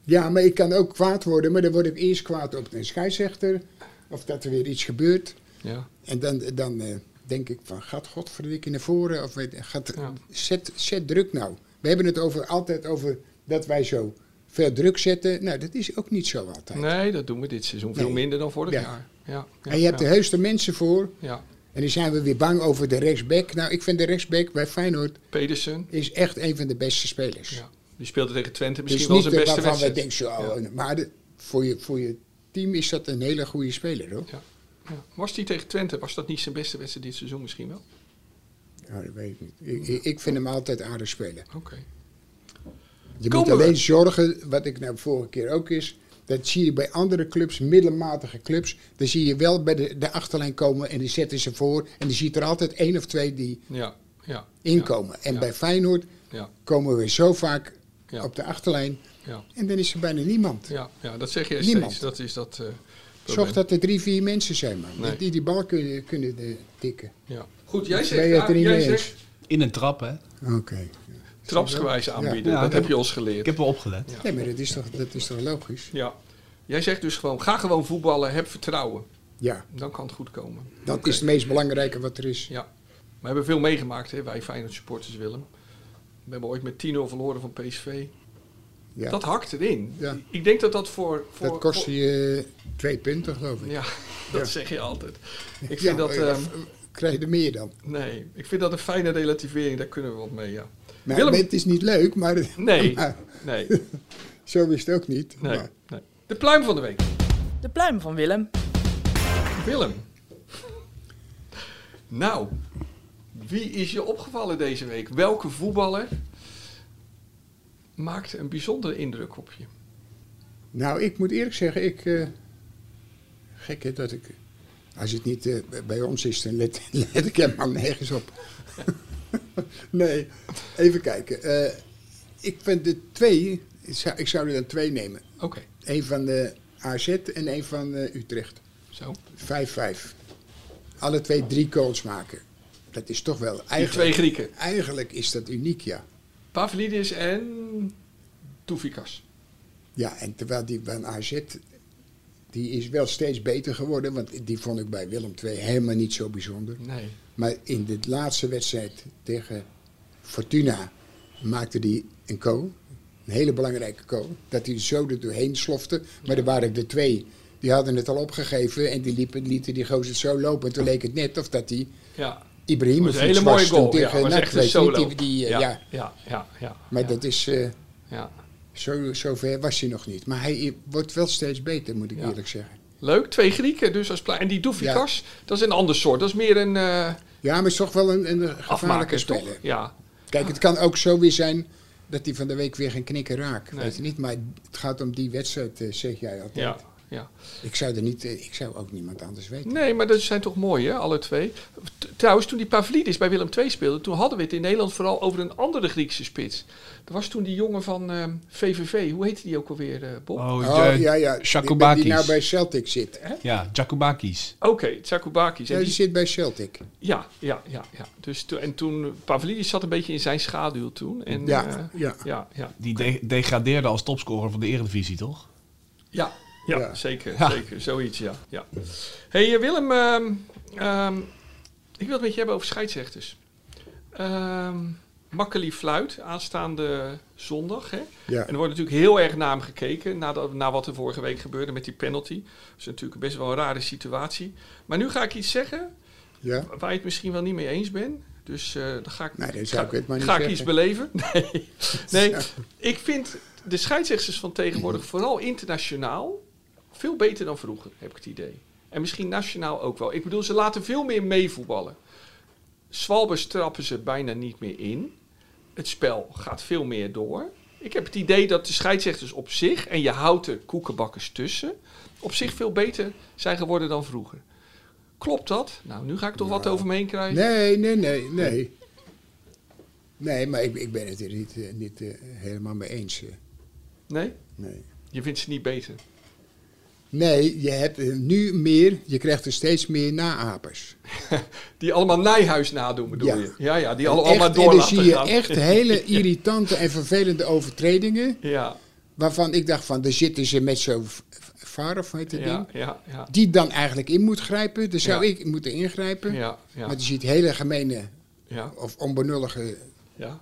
Ja, maar ik kan ook kwaad worden, maar dan word ik eerst kwaad op de scheidsrechter. Of dat er weer iets gebeurt. Ja. En dan, dan eh, denk ik van, gaat godverdikke naar voren? Of weet- gaat, Ja. zet, zet druk nou. We hebben het over, altijd over dat wij zo veel druk zetten. Nou, dat is ook niet zo altijd. Nee, dat doen we dit seizoen veel Nee. minder dan vorig Ja. jaar. Ja. ja, en je hebt ja. er heus de mensen voor. ja. En dan zijn we weer bang over de rechtsback. Nou, ik vind de rechtsback bij Feyenoord Pedersen, is echt een van de beste spelers. ja. die speelde tegen Twente Dus misschien wel niet zijn beste waarvan we wedstrijd. denken, zo, oh, maar de- voor, je, voor je team is dat een hele goede speler, hoor. Ja. Ja. Was die tegen Twente, was dat niet zijn beste wedstrijd dit seizoen misschien wel? Ja, Nou, dat weet ik niet. Ik- Ik, ik vind hem altijd aardig spelen. Oké. Je Komen moet alleen we. zorgen, wat ik nou vorige keer ook is, dat zie je bij andere clubs, middelmatige clubs, dan zie je wel bij de, de achterlijn komen en die zetten ze voor. En die ziet er altijd één of twee die Ja, ja. inkomen. En Ja. bij Feyenoord Ja, komen we zo vaak Ja. op de achterlijn ja, en dan is er bijna niemand. ja, ja, dat zeg je Niemand. steeds. Dat is dat. eh, Zorg probleem. dat er drie, vier mensen zijn, man, Nee. die die bal kunnen, kunnen eh, tikken. Ja. Goed, jij Ben zegt, je het er ja, niet jij mee eens? zegt In een trap, hè? Oké. trapsgewijs aanbieden. Ja, dat ja. heb je ons geleerd. Ik heb wel opgelet. Nee, maar dat is toch, dat is toch logisch? Ja. Jij zegt dus gewoon, ga gewoon voetballen, heb vertrouwen. Ja, Dan kan het goed komen. dat Oké. is het meest belangrijke wat er is. Ja. We hebben veel meegemaakt, hè, wij Feyenoord supporters, Willem. We hebben ooit met 10-0 verloren van PSV. Ja. Dat hakt erin. Ja. Ik denk dat dat voor... voor dat kost voor- je eh, twee punten, geloof ik. Ja, dat zeg je altijd. Ik vind Ja, dat... eh, ehm, krijg je er meer dan. nee, ik vind dat een fijne relativering. Daar kunnen we wat mee, ja. Maar Willem- Het is niet leuk, maar Nee, maar nee, zo is het ook niet. nee, Maar nee. De pluim van de week. De pluim van Willem. Willem. Nou, wie is je opgevallen deze week? Welke voetballer maakte een bijzondere indruk op je? nou, ik moet eerlijk zeggen, ik... eh, gek hè, dat ik... Als het niet eh, bij ons is, dan let, let ik helemaal nergens op. nee, even kijken. Eh, ik vind de twee... Ik zou, ik zou er dan twee nemen. Oké, Eén van de AZ en één van eh, Utrecht. zo. 5-5. alle twee drie goals maken. Dat is toch wel Die eigenlijk. twee Grieken. Eigenlijk is dat uniek, ja. Pavlidis en Toufikas. Ja, en terwijl die van AZ, die is wel steeds beter geworden, want die vond ik bij Willem II helemaal niet zo bijzonder. Nee. Maar in de laatste wedstrijd tegen Fortuna maakte hij een goal. Een hele belangrijke goal. Dat hij zo er doorheen slofte. Maar er waren er twee. Die hadden het al opgegeven en die liepen, lieten die gozer zo lopen. En toen leek het net of dat hij Ja. Ibrahimovic was een hele was mooie toen goal. Ja, tegen was NAC, echt weet een je, die- solo. die, eh, ja, ja. ja, ja, ja. Maar ja, dat is... eh, ja. zo, zo ver was hij nog niet. Maar hij wordt wel steeds beter, moet ik Ja. eerlijk zeggen. Leuk, twee Grieken dus als pla- En die Doefikas, dat is een ander soort. Dat is meer een eh Ja, maar is toch wel een, een gevaarlijke afmaker, speler. toch? Ja, Kijk, het kan ook zo weer zijn dat hij van de week weer geen knikken raakt. Nee. Weet je niet? Maar het gaat om die wedstrijd, eh, zeg jij altijd. ja, ja. Ik zou er niet, eh, ik zou ook niemand anders weten. Nee, maar dat zijn toch mooi, hè, alle twee. T- Trouwens, toen die Pavlidis bij Willem II speelde, toen hadden we het in Nederland vooral over een andere Griekse spits. Dat was toen die jongen van ehm, VVV, hoe heette die ook alweer, eh, Bob? Oh, Oh, de- ja, ja. Die- Jakubakis. Die nou bij Celtic zit. Hè? Ja, Jakubakis. Oké, Tsakubakis. En Ja, die die- zit bij Celtic. Ja, ja, ja. ja. Dus to- en toen, Pavlidis zat een beetje in zijn schaduw toen. En, Ja, eh, ja. ja, ja. Die de- degradeerde als topscorer van de Eredivisie, toch? Ja, ja, Ja. zeker. Ja. Zeker, zoiets, ja. ja. hey, eh, Willem, ehm, ehm, ik wil het met je hebben over scheidsrechters. Ehm Makkeli Fluit, aanstaande zondag. Hè? Ja. En er wordt natuurlijk heel erg naar hem gekeken, na, dat- na wat er vorige week gebeurde met die penalty. Dat is natuurlijk best wel een rare situatie. Maar nu ga ik iets zeggen Ja. waar je het misschien wel niet mee eens bent. Dus eh, dan ga ik, Nee, dan zou ga, ik het maar niet ga ik zeggen. iets beleven. Nee. nee, ik vind de scheidsrechters van tegenwoordig, vooral internationaal, veel beter dan vroeger, heb ik het idee. En misschien nationaal ook wel. Ik bedoel, ze laten veel meer meevoetballen. Swalbers trappen ze bijna niet meer in. Het spel gaat veel meer door. Ik heb het idee dat de scheidsrechters op zich, en je houdt er koekenbakkers tussen, op zich veel beter zijn geworden dan vroeger. Klopt dat? Nou, nu ga ik toch wat over me heen krijgen. Nee, nee, nee, nee. Nee, maar ik, ik ben het er niet, eh, niet eh, helemaal mee eens. eh. Nee? Nee. Je vindt ze niet beter. nee, je hebt eh, nu meer, je krijgt er steeds meer naapers. Die allemaal Nijhuis nadoen, bedoel Ja. je? Ja, ja, die En alle- allemaal echt- door en dan laten zie je gaan. echt hele irritante en vervelende overtredingen. Ja, Waarvan ik dacht van, daar zitten ze met zo'n v- v- vaar of hoe heet dat ja, ding. ja, ja. Die dan eigenlijk in moet grijpen. Daar zou Ja. ik moeten ingrijpen. Ja, ja, Want je ziet hele gemene ja, of onbenullige ja.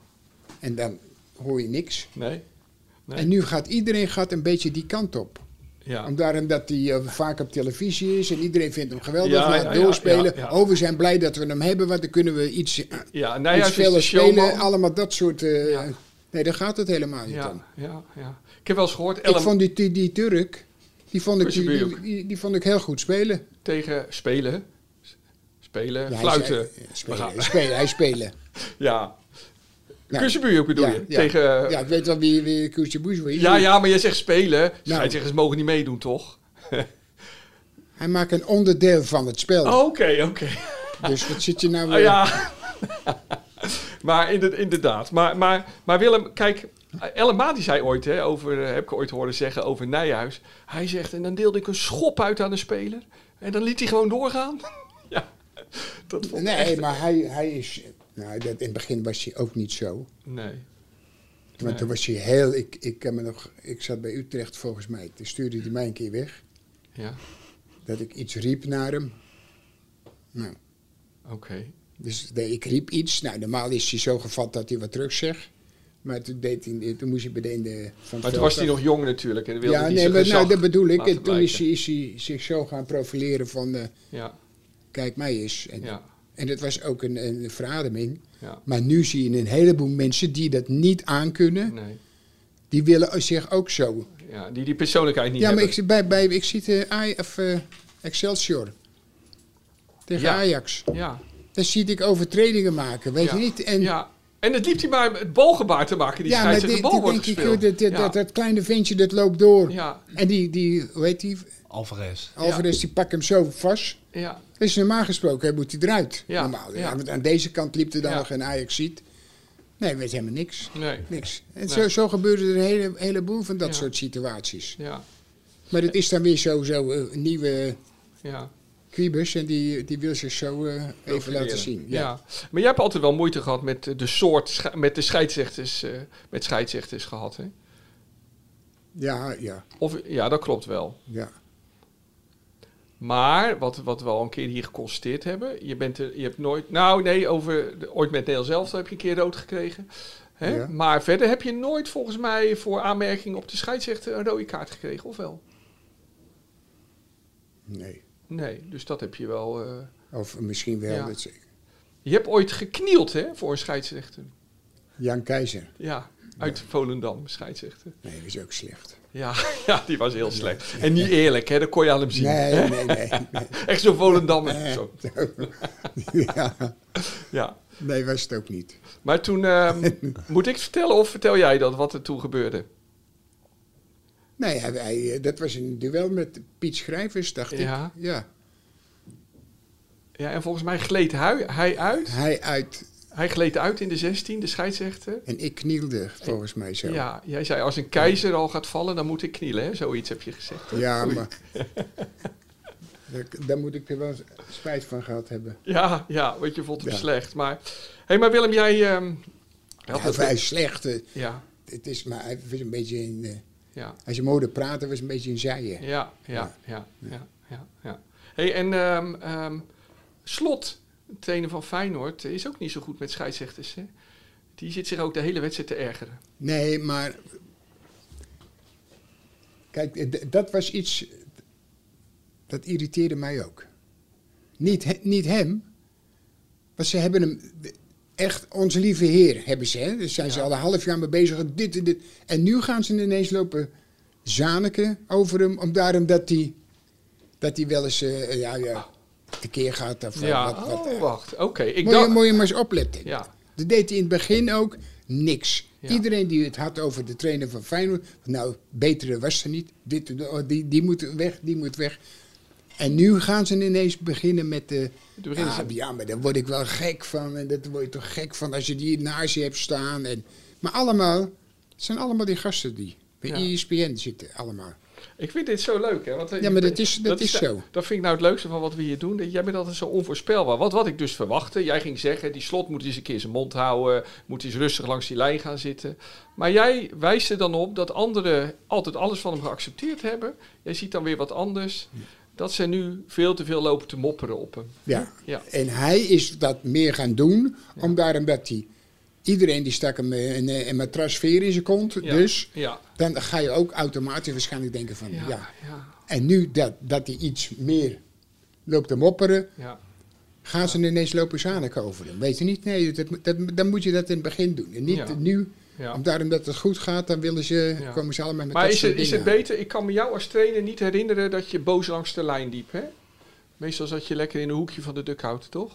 en dan hoor je niks. Nee, Nee. En nu gaat iedereen gaat een beetje die kant op. ja. Om daarom dat hij eh, vaak op televisie is en iedereen vindt hem geweldig. Ja, laat ja, ja, doorspelen. ja, ja. Oh, we zijn blij dat we hem hebben, want dan kunnen we iets, Ja, iets Nijhuis is sneller spelen. de showman. Allemaal dat soort... eh, Ja. Nee, daar gaat het helemaal niet om. Ja, ja, ja. Ik heb wel eens gehoord, Ik Ellen vond die, die, die Turk, die vond, ik, die, Kusjebujuk. die, die- die vond ik heel goed spelen. tegen spelen, S- spelen, Ja, hij fluiten. zei- ja, We gaan- spelen, spelen, hij spelen. Ja. Nou, Kussenbuur bedoel je? Tegen, eh, ja, ik weet wel wie, wie Koetje Boes was. ja, ja, maar jij zegt spelen. Nou. Scheidsrechters mogen niet meedoen, toch? Hij maakt een onderdeel van het spel. Oh, Oké, oké. Dus wat zit je nou Ah, weer- ja. maar inder- inderdaad. Maar, maar, maar Willem, kijk. Ellema die zei ooit, hè, over, eh, heb ik ooit horen zeggen over Nijhuis. Hij zegt, en dan deelde ik een schop uit aan de speler. En dan liet hij gewoon doorgaan. ja, dat vond ik Nee, echt- maar hij, hij is... Nou, dat, in het begin was hij ook niet zo. Nee. Want toen was hij heel... Ik, ik, kan me nog, ik zat bij Utrecht volgens mij. Toen stuurde hij mij een keer weg. Ja, Dat ik iets riep naar hem. Nou, oké. Dus de- ik riep iets. Nou, normaal is hij zo gevat dat hij wat terug zegt. Maar toen, deed hij, toen moest hij beneden van het Maar toen veld was hij af. nog jong natuurlijk. En wilde Ja, hij nee, zijn maar nou, gezag dat bedoel ik. laten En toen is blijken. hij, is hij zich zo gaan profileren van... eh, Ja, kijk mij eens. En, ja, en dat was ook een, een verademing. ja. Maar nu zie je een heleboel mensen die dat niet aankunnen. Nee. Die willen zich ook zo. Ja, die die persoonlijkheid niet ja, maar hebben. ik, zie- bij, bij, ik zie het eh, Aj- of, eh, Excelsior. Tegen Ja. Ajax. Ja, Daar zie ik overtredingen maken, weet ja. je niet? En ja. en het liep hij maar het balgebaar te maken. Die ja, maar scheidsrechter dit, de bal dit wordt denk ik, joh, gespeeld. dat, dat, Ja. dat, dat kleine ventje dat loopt door. Ja, En die, die, hoe heet die, Alvarez. Alvarez, die pakt hem zo vast. ja, Dat is normaal gesproken, hè, moet hij eruit. Ja, Normaal. ja. Ja, want aan deze kant liep er dan Ja. nog een ajax ziet. Nee, weet helemaal niks. nee. Niks. En Nee. zo, zo gebeurde er een hele, heleboel van dat Ja. soort situaties. Ja, Maar dat is dan weer zo, zo eh, nieuwe ja. Quibus en die, die wil zich zo eh, even Profileren. laten zien. Ja. maar jij hebt altijd wel moeite gehad met eh, de soort, sche- met de scheidsrechters, eh, met scheidsrechters gehad, hè? ja, ja. Of, ja, dat klopt wel. ja. Maar, wat, wat we al een keer hier geconstateerd hebben, je, bent er, je hebt nooit, nou nee, over, de- ooit met Nederland zelf heb je een keer rood gekregen. Hè? Ja. Maar verder heb je nooit volgens mij voor aanmerking op de scheidsrechter een rode kaart gekregen, of wel? Nee. Nee, dus dat heb je wel. eh. Of misschien wel. Ja. dat ze- Je hebt ooit geknield hè, voor een scheidsrechter. Jan Keizer. Ja, uit Volendam, scheidsrechter. Nee, dat is ook slecht. Ja, ja, die was heel slecht. En niet eerlijk, hè, dat kon je aan hem zien. Nee, nee, nee. Echt zo'n Volendammer. nee. Zo. ja, Ja. nee, was het ook niet. Maar toen, ehm, moet ik het vertellen of vertel jij dat, wat er toen gebeurde? Nee, hij, hij, eh, dat was een duel met Piet Schrijvers, dacht Ja. ik. Ja. Ja, en volgens mij gleed hij, hij uit. Hij uit Hij gleed uit in de 16, de scheidsrechter. en ik knielde, volgens mij zo. Ja, jij zei als een keizer al gaat vallen, dan moet ik knielen. Hè? Zoiets heb je gezegd. Ja, maar... Daar, daar moet ik er wel spijt van gehad hebben. Ja, ja, want je vond hem Ja. slecht. Maar, hey, maar Willem, jij... ehm, Ja, had het- vrij slecht. eh, ja, Het is, maar hij was een beetje een, eh, ja, als je moeder praatte, was een beetje een zijen. ja, ja, ja, ja, ja, ja. Hey, en ehm, ehm, Slot, de trainer van Feyenoord, is ook niet zo goed met scheidsrechters. Hè? Die zit zich ook de hele wedstrijd te ergeren. Nee, maar. Kijk, eh, d- dat was iets. Dat irriteerde mij ook. Niet, he- niet hem. Want ze hebben hem. de- Echt, onze lieve Heer hebben ze. Hè? Daar zijn ze al een half jaar mee bezig. Dit en dit. En nu gaan ze ineens lopen zaniken over hem. Om daarom dat hij. Dat hij wel eens. eh, ja, ja, tekeer gaat. Of, eh, ja, wat, wat, eh. oh, wacht. Oké, ik Moet je, dacht... moet je maar eens opletten. Ja, Dat deed hij in het begin ook niks. Ja. Iedereen die het had over de trainer van Feyenoord, nou, betere was er niet. Dit, oh, die, die moet weg, die moet weg. En nu gaan ze ineens beginnen met de. Toen beginnen ze- ah, ja, maar daar word ik wel gek van. En dat word je toch gek van als je die naast je hebt staan. En, maar allemaal, het zijn allemaal die gasten die bij E Ja. ESPN zitten, allemaal. Ik vind dit zo leuk, hè? Want, eh, Ja, maar dat is- dat is zo. Dat vind ik nou het leukste van wat we hier doen. dat Jij bent altijd zo onvoorspelbaar. Wat, wat ik dus verwachtte, jij ging zeggen... die slot moet eens een keer zijn mond houden... moet eens rustig langs die lijn gaan zitten. Maar jij wijst er dan op dat anderen altijd alles van hem geaccepteerd hebben. Jij ziet dan weer wat anders. Dat ze nu veel te veel lopen te mopperen op hem. Ja. Ja. En hij is dat meer gaan doen, om daarom dat hij. Iedereen die stak hem eh, een, eh, een matras veer in zijn kont. Ja. Dus Ja. dan ga je ook automatisch waarschijnlijk denken van ja. Ja, ja, ja. En nu dat, dat hij iets meer loopt te mopperen, gaan ze ineens lopen zaniken over hem. Weet je niet? Nee, dat, dat, dan moet je dat in het begin doen. En niet Ja. nu, Ja. omdat omdat het goed gaat, dan willen ze, Ja. komen ze allemaal met Maar dat is soort het, is het dingen. beter... Ik kan me jou als trainer niet herinneren dat je boos langs de lijn liep, hè? Meestal zat je lekker in een hoekje van de duckhout, toch?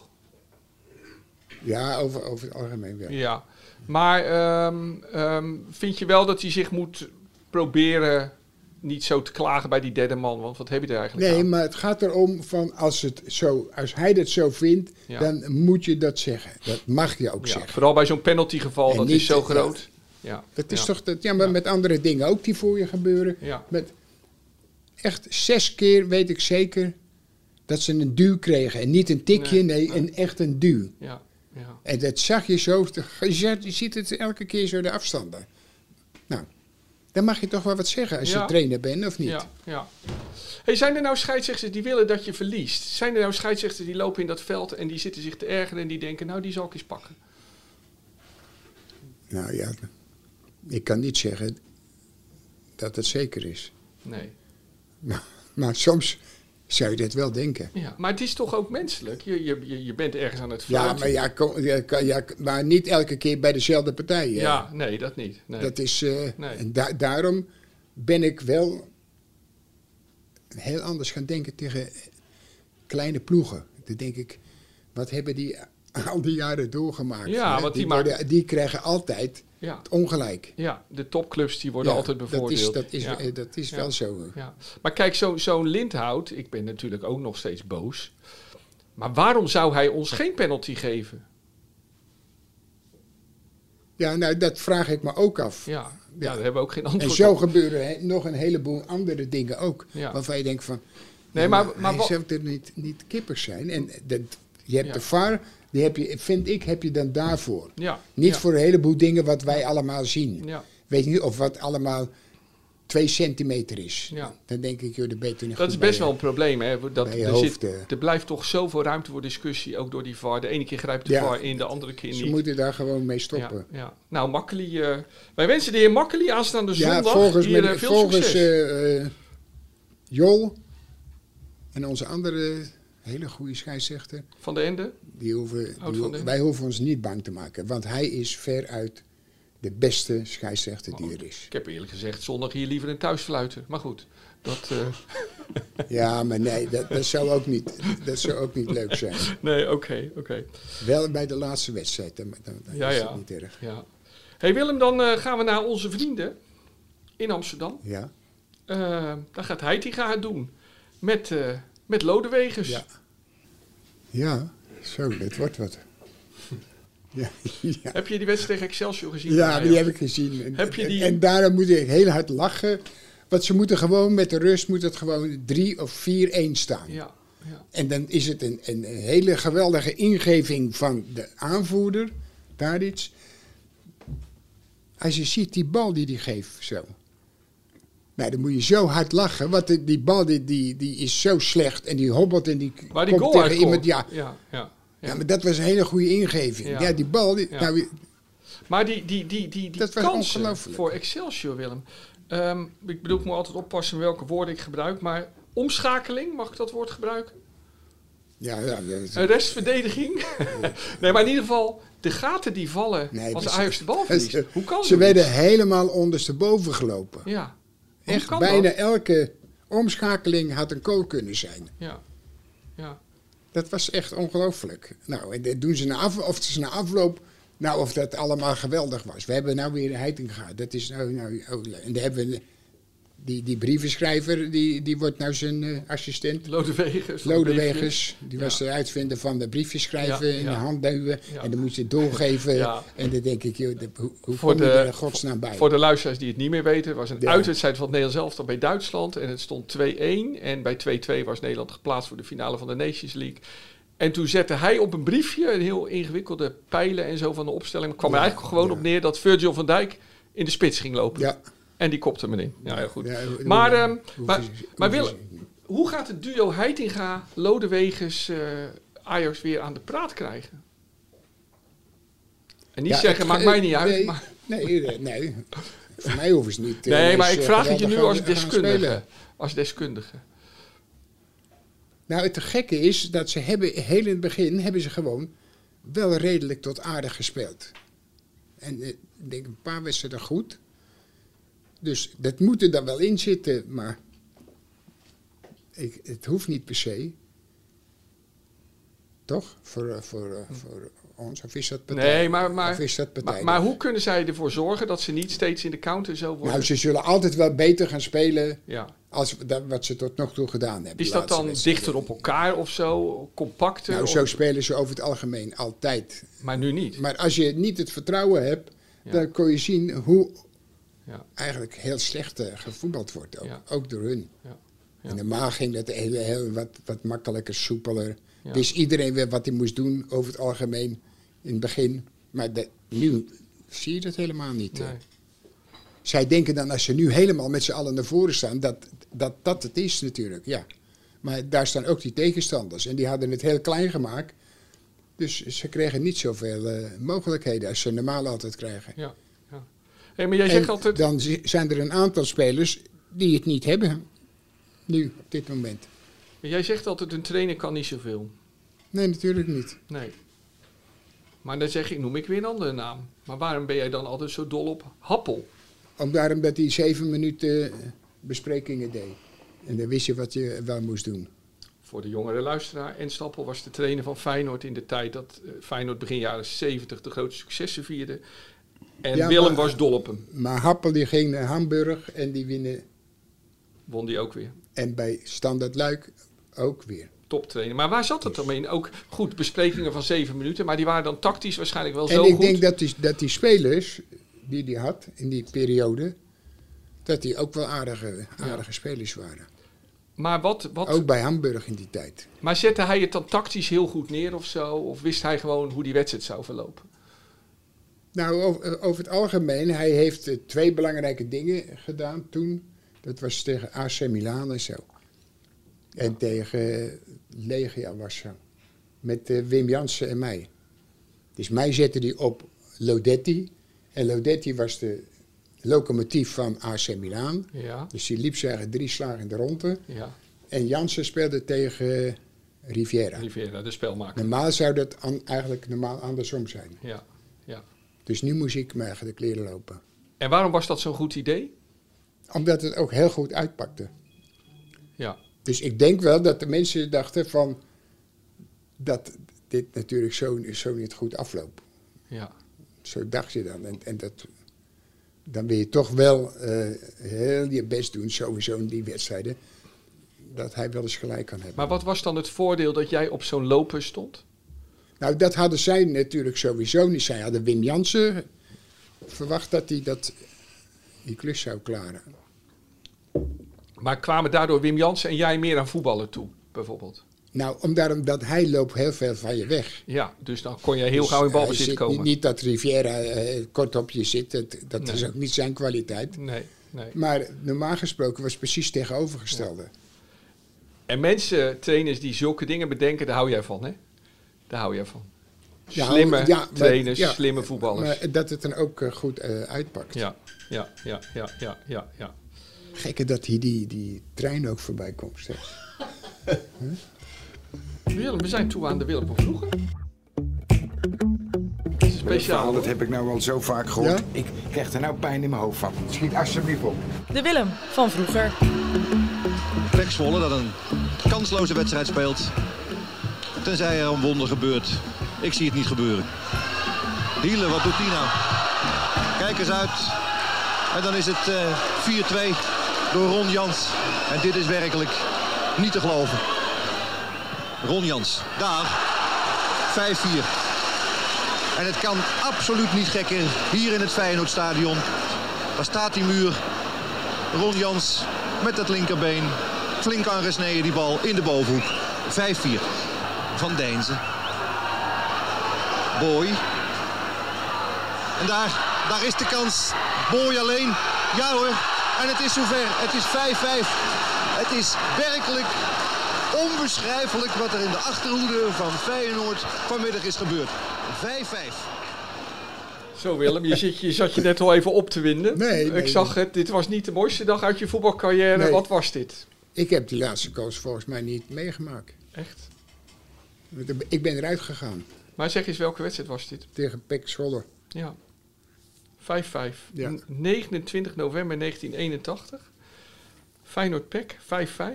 Ja, over, over het algemeen wel. Ja, maar ehm, ehm, vind je wel dat hij zich moet proberen niet zo te klagen bij die derde man? Want wat heb je er eigenlijk Nee, aan? maar het gaat erom van als, het zo, als hij dat zo vindt, Ja. dan moet je dat zeggen. Dat mag je ook Ja, zeggen. vooral bij zo'n penaltygeval, En dat niet- is zo groot. Ja, Dat is ja. toch dat, ja, maar met andere dingen ook die voor je gebeuren. Ja. Met echt zes keer weet ik zeker dat ze een duw kregen. En niet een tikje, nee, een, echt een duw. Ja, ja. En dat zag je zo, je zet- je ziet het elke keer zo de afstanden. Nou, dan mag je toch wel wat zeggen als Ja. je trainer bent of niet. Ja, ja. Hey, zijn er nou scheidsrechters die willen dat je verliest? Zijn er nou scheidsrechters die lopen in dat veld en die zitten zich te ergeren en die denken, nou die zal ik eens pakken? Nou ja, ik kan niet zeggen dat het zeker is. Nee. Maar, maar soms zou je dat wel denken. Ja. Maar het is toch ook menselijk? Je, je, je- je bent ergens aan het Ja, fluiten. maar, ja, kom- ja, kan- ja, maar niet elke keer bij dezelfde partij. hè. Ja, nee, dat niet. Nee. Dat is, eh, Nee. en da- daarom ben ik wel heel anders gaan denken tegen kleine ploegen. Dan denk ik, wat hebben die al die jaren doorgemaakt? Ja, hè? want die worden- die krijgen altijd Ja. het ongelijk. Ja, de topclubs die worden Ja, altijd bevoordeeld. Dat is, dat is, ja. eh, dat is wel zo. ja. Maar kijk, zo- zo'n Lindhout, ik ben natuurlijk ook nog steeds boos. Maar waarom zou hij ons geen penalty geven? Ja, nou, dat vraag ik me ook af. Ja, ja. daar hebben we ook geen En antwoord zo op. gebeuren hè, nog een heleboel andere dingen ook. Ja. Waarvan je denkt van, Nee, maar, maar hij wa- zou er niet, niet kippers zijn. En dat, je hebt Ja. de VAR, die heb je, vind ik, heb je dan daarvoor. ja, Niet ja, voor een heleboel dingen wat wij allemaal zien. ja. Weet niet of wat allemaal twee centimeter is. Ja. Dan denk ik, joh, dat beter niet Dat is best wel een probleem. Hè? Dat, bij je er, hoofd, zit, eh. er blijft toch zoveel ruimte voor discussie, ook door die VAR. De ene keer grijpt de Ja. VAR in, de andere keer Ze niet. moeten daar gewoon mee stoppen. Ja, ja. Nou, Makkeli, eh, wij wensen de heer Makkeli aanstaande Ja, zondag volgens, hier met- eh, veel volgens succes. eh, eh, Jol en onze andere hele goede scheidsrechter, van de Ende. die hoeven, Oud die van ho- Dijk. wij hoeven ons niet bang te maken. Want hij is veruit de beste scheidsrechter die er is. Ik heb eerlijk gezegd zondag hier liever een thuisfluiter. Maar goed, dat... eh, Ja, maar nee, dat, dat, zou, ook niet, dat zou ook niet leuk zijn. nee, oké, oké. Wel bij de laatste wedstrijd, dan, dan, dan Ja, is ja. het niet erg. Ja. hey Willem, dan eh, gaan we naar onze vrienden in Amsterdam. Ja, Eh daar gaat Heitinga het doen. Met, eh, met Lodewegers. Ja. ja zo, dat wordt wat. Ja, ja. Heb je die wedstrijd tegen Excelsior gezien? Ja, Ajax? die heb ik gezien. En, Heb je die- en, en daarom moet ik heel hard lachen. Want ze moeten gewoon met de rust moet het gewoon 3 of 4-1 staan. Ja, ja, En dan is het een, een hele geweldige ingeving van de aanvoerder, daar iets. Als je ziet die bal die die geeft, zo. Nou, dan moet je zo hard lachen, want die, die bal die, die, die is zo slecht. En die hobbelt en die Waar die komt goal uit tegen iemand. Ja, ja, ja, ja. ja. maar dat was een hele goede ingeving. Ja. Ja, die bal, die, Ja. nou, Maar die, die, die, die, die Dat was kansen ongelooflijk. voor Excelsior, Willem. Ehm, ik bedoel, ik moet altijd oppassen welke woorden ik gebruik. Maar omschakeling, mag ik dat woord gebruiken? ja, ja, ja, Een restverdediging? nee, maar in ieder geval de gaten die vallen Nee, als maar ze- Ajax de bal verliest. ze- Hoe kan Ze zoiets? werden helemaal ondersteboven gelopen. Ja. Hoe Echt, kan bijna dat? elke omschakeling had een kool kunnen zijn. Ja. Ja. Dat was echt ongelooflijk. Nou, en dat doen ze na, af, of ze na afloop. Nou, of dat allemaal geweldig was. We hebben nou weer een heiting gehad. Dat is nou. nou oh, en daar hebben we. Die, die brievenschrijver, die, die wordt nou zijn eh, assistent. Lodewegers. van de briefjes. Lodewegers, die Ja. was de uitvinder van de briefjes schrijven Ja, in ja. de handduwen. Ja. En dan moest je het doorgeven. Ja. En dan denk ik, joh, dat- hoe, hoe Voor kom je de- er in godsnaam bij? Voor de luisteraars die het niet meer weten, was een Ja. uitwedstrijd van het Nederlands elftal bij Duitsland. En het stond 2-1. En bij 2-2 was Nederland geplaatst voor de finale van de Nations League. En toen zette hij op een briefje, een heel ingewikkelde pijlen en zo van de opstelling. Maar kwam er Ja, eigenlijk gewoon ja. op neer dat Virgil van Dijk in de spits ging lopen. ja. En die kopte hem in. Ja, heel goed. Ja, hoe- maar, hoe- ehm, hoe- maar, hoe- hoe- maar hoe- Willem, hoe gaat het duo Heitinga, Lodewegers, eh Ajax weer aan de praat krijgen? En niet Ja, zeggen, het- maakt eh, mij niet uit. Nee, maar, nee, nee, nee. voor mij hoeven ze niet. eh, nee, maar eens, ik eh, vraag het je nu geweldig als gaan- gaan spelen. deskundige. Als deskundige. Nou, het gekke is dat ze hebben, heel in het begin hebben ze gewoon wel redelijk tot aardig gespeeld. En eh, ik denk een paar wedstrijden goed. Dus dat moet er dan wel in zitten, maar ik, het hoeft niet per se. Toch? Voor, eh, voor, eh, voor ons? Of is dat partij? Hm. Nee, maar, maar, of is dat partij? maar, maar hoe kunnen zij ervoor zorgen dat ze niet steeds in de counter zo worden? nou, ze zullen altijd wel beter gaan spelen ja. als dat, wat ze tot nog toe gedaan hebben. de Is dat laatste dan wedstrijden. dichter op elkaar of zo? Compacter? Nou, of- zo spelen ze over het algemeen altijd. maar nu niet. Maar als je niet het vertrouwen hebt, Ja. dan kon je zien hoe Ja. eigenlijk heel slecht eh, gevoetbald wordt. Ook, Ja. ook door hun. Ja. Ja. En normaal ging dat heel, heel wat, wat makkelijker, soepeler. Ja. Wist iedereen weer wat hij moest doen over het algemeen in het begin. Maar de- nu zie je dat helemaal niet. eh. Nee. Zij denken dan als ze nu helemaal met z'n allen naar voren staan, dat, dat dat het is natuurlijk. Ja. Maar daar staan ook die tegenstanders. En die hadden het heel klein gemaakt. Dus ze kregen niet zoveel eh, mogelijkheden als ze normaal altijd krijgen. Ja. ja. Hey, maar jij En zegt altijd... Dan zi- zijn er een aantal spelers die het niet hebben. Nu, op dit moment. Maar Jij zegt altijd, een trainer kan niet zoveel. Nee, natuurlijk niet. Nee. Maar dan zeg ik, noem ik weer een andere naam. Maar waarom ben jij dan altijd zo dol op Happel? Ook daarom dat hij zeven minuten eh, besprekingen deed. En dan wist je wat je wel moest doen. Voor de jongere luisteraar, En Stappel was de trainer van Feyenoord in de tijd dat eh, Feyenoord begin jaren 70 de grote successen vierde. En Ja, Willem maar- was dol op hem. Maar Happel die ging naar Hamburg en die winnen. Won die ook weer. En bij Standard Luik ook weer. Toptrainer. Maar waar zat het dan in? Ook goed, besprekingen van zeven minuten. Maar die waren dan tactisch waarschijnlijk wel zo en ik goed. denk dat die, dat die spelers die die had in die periode, dat die ook wel aardige, aardige spelers waren. Maar, wat, wat, Ook bij Hamburg in die tijd. maar zette hij het dan tactisch heel goed neer of zo? Of wist hij gewoon hoe die wedstrijd zou verlopen? Nou, o- eh, over het algemeen, hij heeft eh, twee belangrijke dingen gedaan toen. Dat was tegen AC Milan en zo. En tegen eh, Legia was zo. Met eh, Wim Jansen en mij. Dus mij zette hij op Lodetti. En Lodetti was de locomotief van AC Milan. Ja, Dus die liep zeggen drie slagen in de ronde. ja. En Jansen speelde tegen eh, Riviera. Rivera, de spelmaker. Normaal zou dat an- eigenlijk normaal andersom zijn. Ja, ja. Dus nu moest ik me eigenlijk leren lopen. En waarom was dat zo'n goed idee? Omdat het ook heel goed uitpakte. Ja, Dus ik denk wel dat de mensen dachten van... dat dit natuurlijk zo, zo niet goed afloopt. ja. Zo dacht je dan. En, en dat, dan wil je toch wel eh, heel je best doen, sowieso in die wedstrijden... dat hij wel eens gelijk kan hebben. Maar wat was dan het voordeel dat jij op zo'n loper stond? Nou, dat hadden zij natuurlijk sowieso niet. Zij hadden Wim Jansen verwacht dat hij dat, die klus zou klaren. Maar kwamen daardoor Wim Jansen en jij meer aan voetballen toe, bijvoorbeeld? Nou, om- daarom dat hij loopt heel veel van je weg. Ja, dus dan kon je heel Dus gauw in hij balbezit zit komen. Niet, niet dat Riviera eh, kort op je zit, dat, dat Nee. is ook niet zijn kwaliteit. Nee, nee. Maar normaal gesproken was het precies tegenovergestelde. En mensen, trainers die zulke dingen bedenken, daar hou jij van, hè? Daar hou jij van. Ja, Slimme ja, maar- trainers, ja, slimme voetballers. Maar dat het dan ook eh, goed eh, uitpakt. ja, ja, ja, ja, ja, ja, ja. Gekke dat hier die, die trein ook voorbij komt. zeg. Willem, we zijn toe aan de Willem van vroeger. Het is Speciaal. verhaal, hoor. dat heb ik nou al zo vaak gehoord. Ja? Ik krijg er nou pijn in mijn hoofd van. Schiet alsjeblieft op. De Willem van vroeger. Pek Zwolle dat een kansloze wedstrijd speelt. Tenzij er een wonder gebeurt. Ik zie het niet gebeuren. Hiele, wat doet die nou? Kijk eens uit. En dan is het eh, 4-2 door Ron Jans. En dit is werkelijk niet te geloven. Ron Jans, daar. 5-4. En het kan absoluut niet gekker hier in het Feyenoordstadion. Daar staat die muur. Ron Jans met het linkerbeen. Flink aangesneden die bal in de bovenhoek. 5-4 van Deense. Boy. En daar, daar is de kans. Boy alleen. Ja hoor. En het is zover. Het is 5-5. Het is werkelijk onbeschrijfelijk wat er in de achterhoede van Feyenoord vanmiddag is gebeurd. 5-5. Zo Willem, je, zit, je zat je net al even op te winden. Nee, ik nee. zag het, dit was niet de mooiste dag uit je voetbalcarrière. Nee. Wat was dit? Ik heb die laatste kans volgens mij niet meegemaakt. Echt? Want Ik ben eruit gegaan Maar zeg eens, welke wedstrijd was dit? tegen Pek Zwolle. Ja. 5-5. Ja. N- 29 november 1981. Feyenoord E Pek,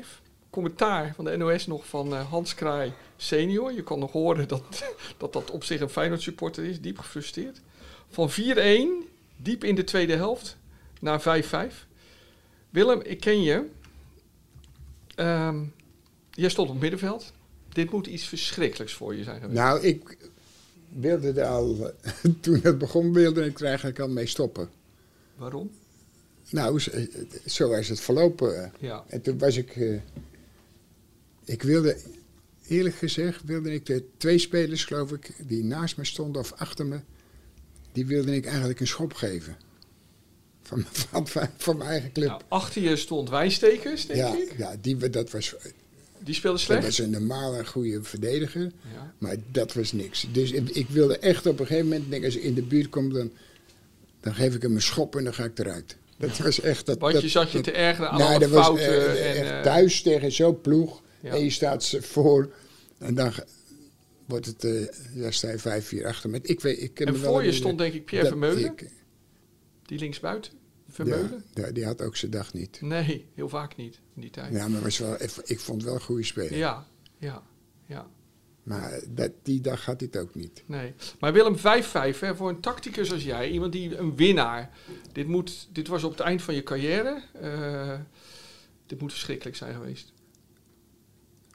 5-5. Commentaar van de NOS nog van eh, Hans Kraai senior. Je kan nog horen dat dat, dat op zich een Feyenoord supporter is. Diep gefrustreerd. Van 4-1, diep in de tweede helft, naar 5-5. Willem, ik ken je. Ehm, jij stond op het middenveld. Dit moet iets verschrikkelijks voor je zijn geweest. Nou, ik wilde er al, toen het begon, wilde ik er eigenlijk al mee stoppen. Waarom? Nou, zo- zo is het verlopen. eh. Ja. En toen was ik, eh, ik wilde, eerlijk gezegd, wilde ik de twee spelers, geloof ik, die naast me stonden of achter me, die wilde ik eigenlijk een schop geven. Van, van, van, van mijn eigen Nou, club. achter je stond Wijnstekers, denk Ja, ik. ja die, dat, was, Die speelde dat slecht. was een normale goede verdediger. Ja. Maar dat was niks. Dus ik, ik wilde echt op een gegeven moment, denk, als ik in de buurt kom, dan, dan geef ik hem een schop en dan ga ik eruit. Dat was echt dat. Want dat, je zat je dat- te ergeren aan Nou, alle dat was, fouten. eh, en, echt eh, thuis tegen zo'n ploeg. Ja. En je staat ze voor. En dan ge- wordt het, eh ja, sta je vijf, vier achter. Met, ik weet, ik ken En me wel voor je herinneren stond, denk ik, Pierre dat Vermeulen. ik- die linksbuiten, Ja, Vermeulen. ja, die had ook zijn dag niet. Nee, heel vaak niet in die tijd. Ja, Ja, maar was wel, ik, ik vond wel een goede speler. ja, ja. Maar dat, die dag had hij het ook niet. nee. Maar Willem, 5-5 hè, voor een tacticus als jij. Iemand die een winnaar. Dit, moet, dit was op het eind van je carrière. eh, dit moet verschrikkelijk zijn geweest.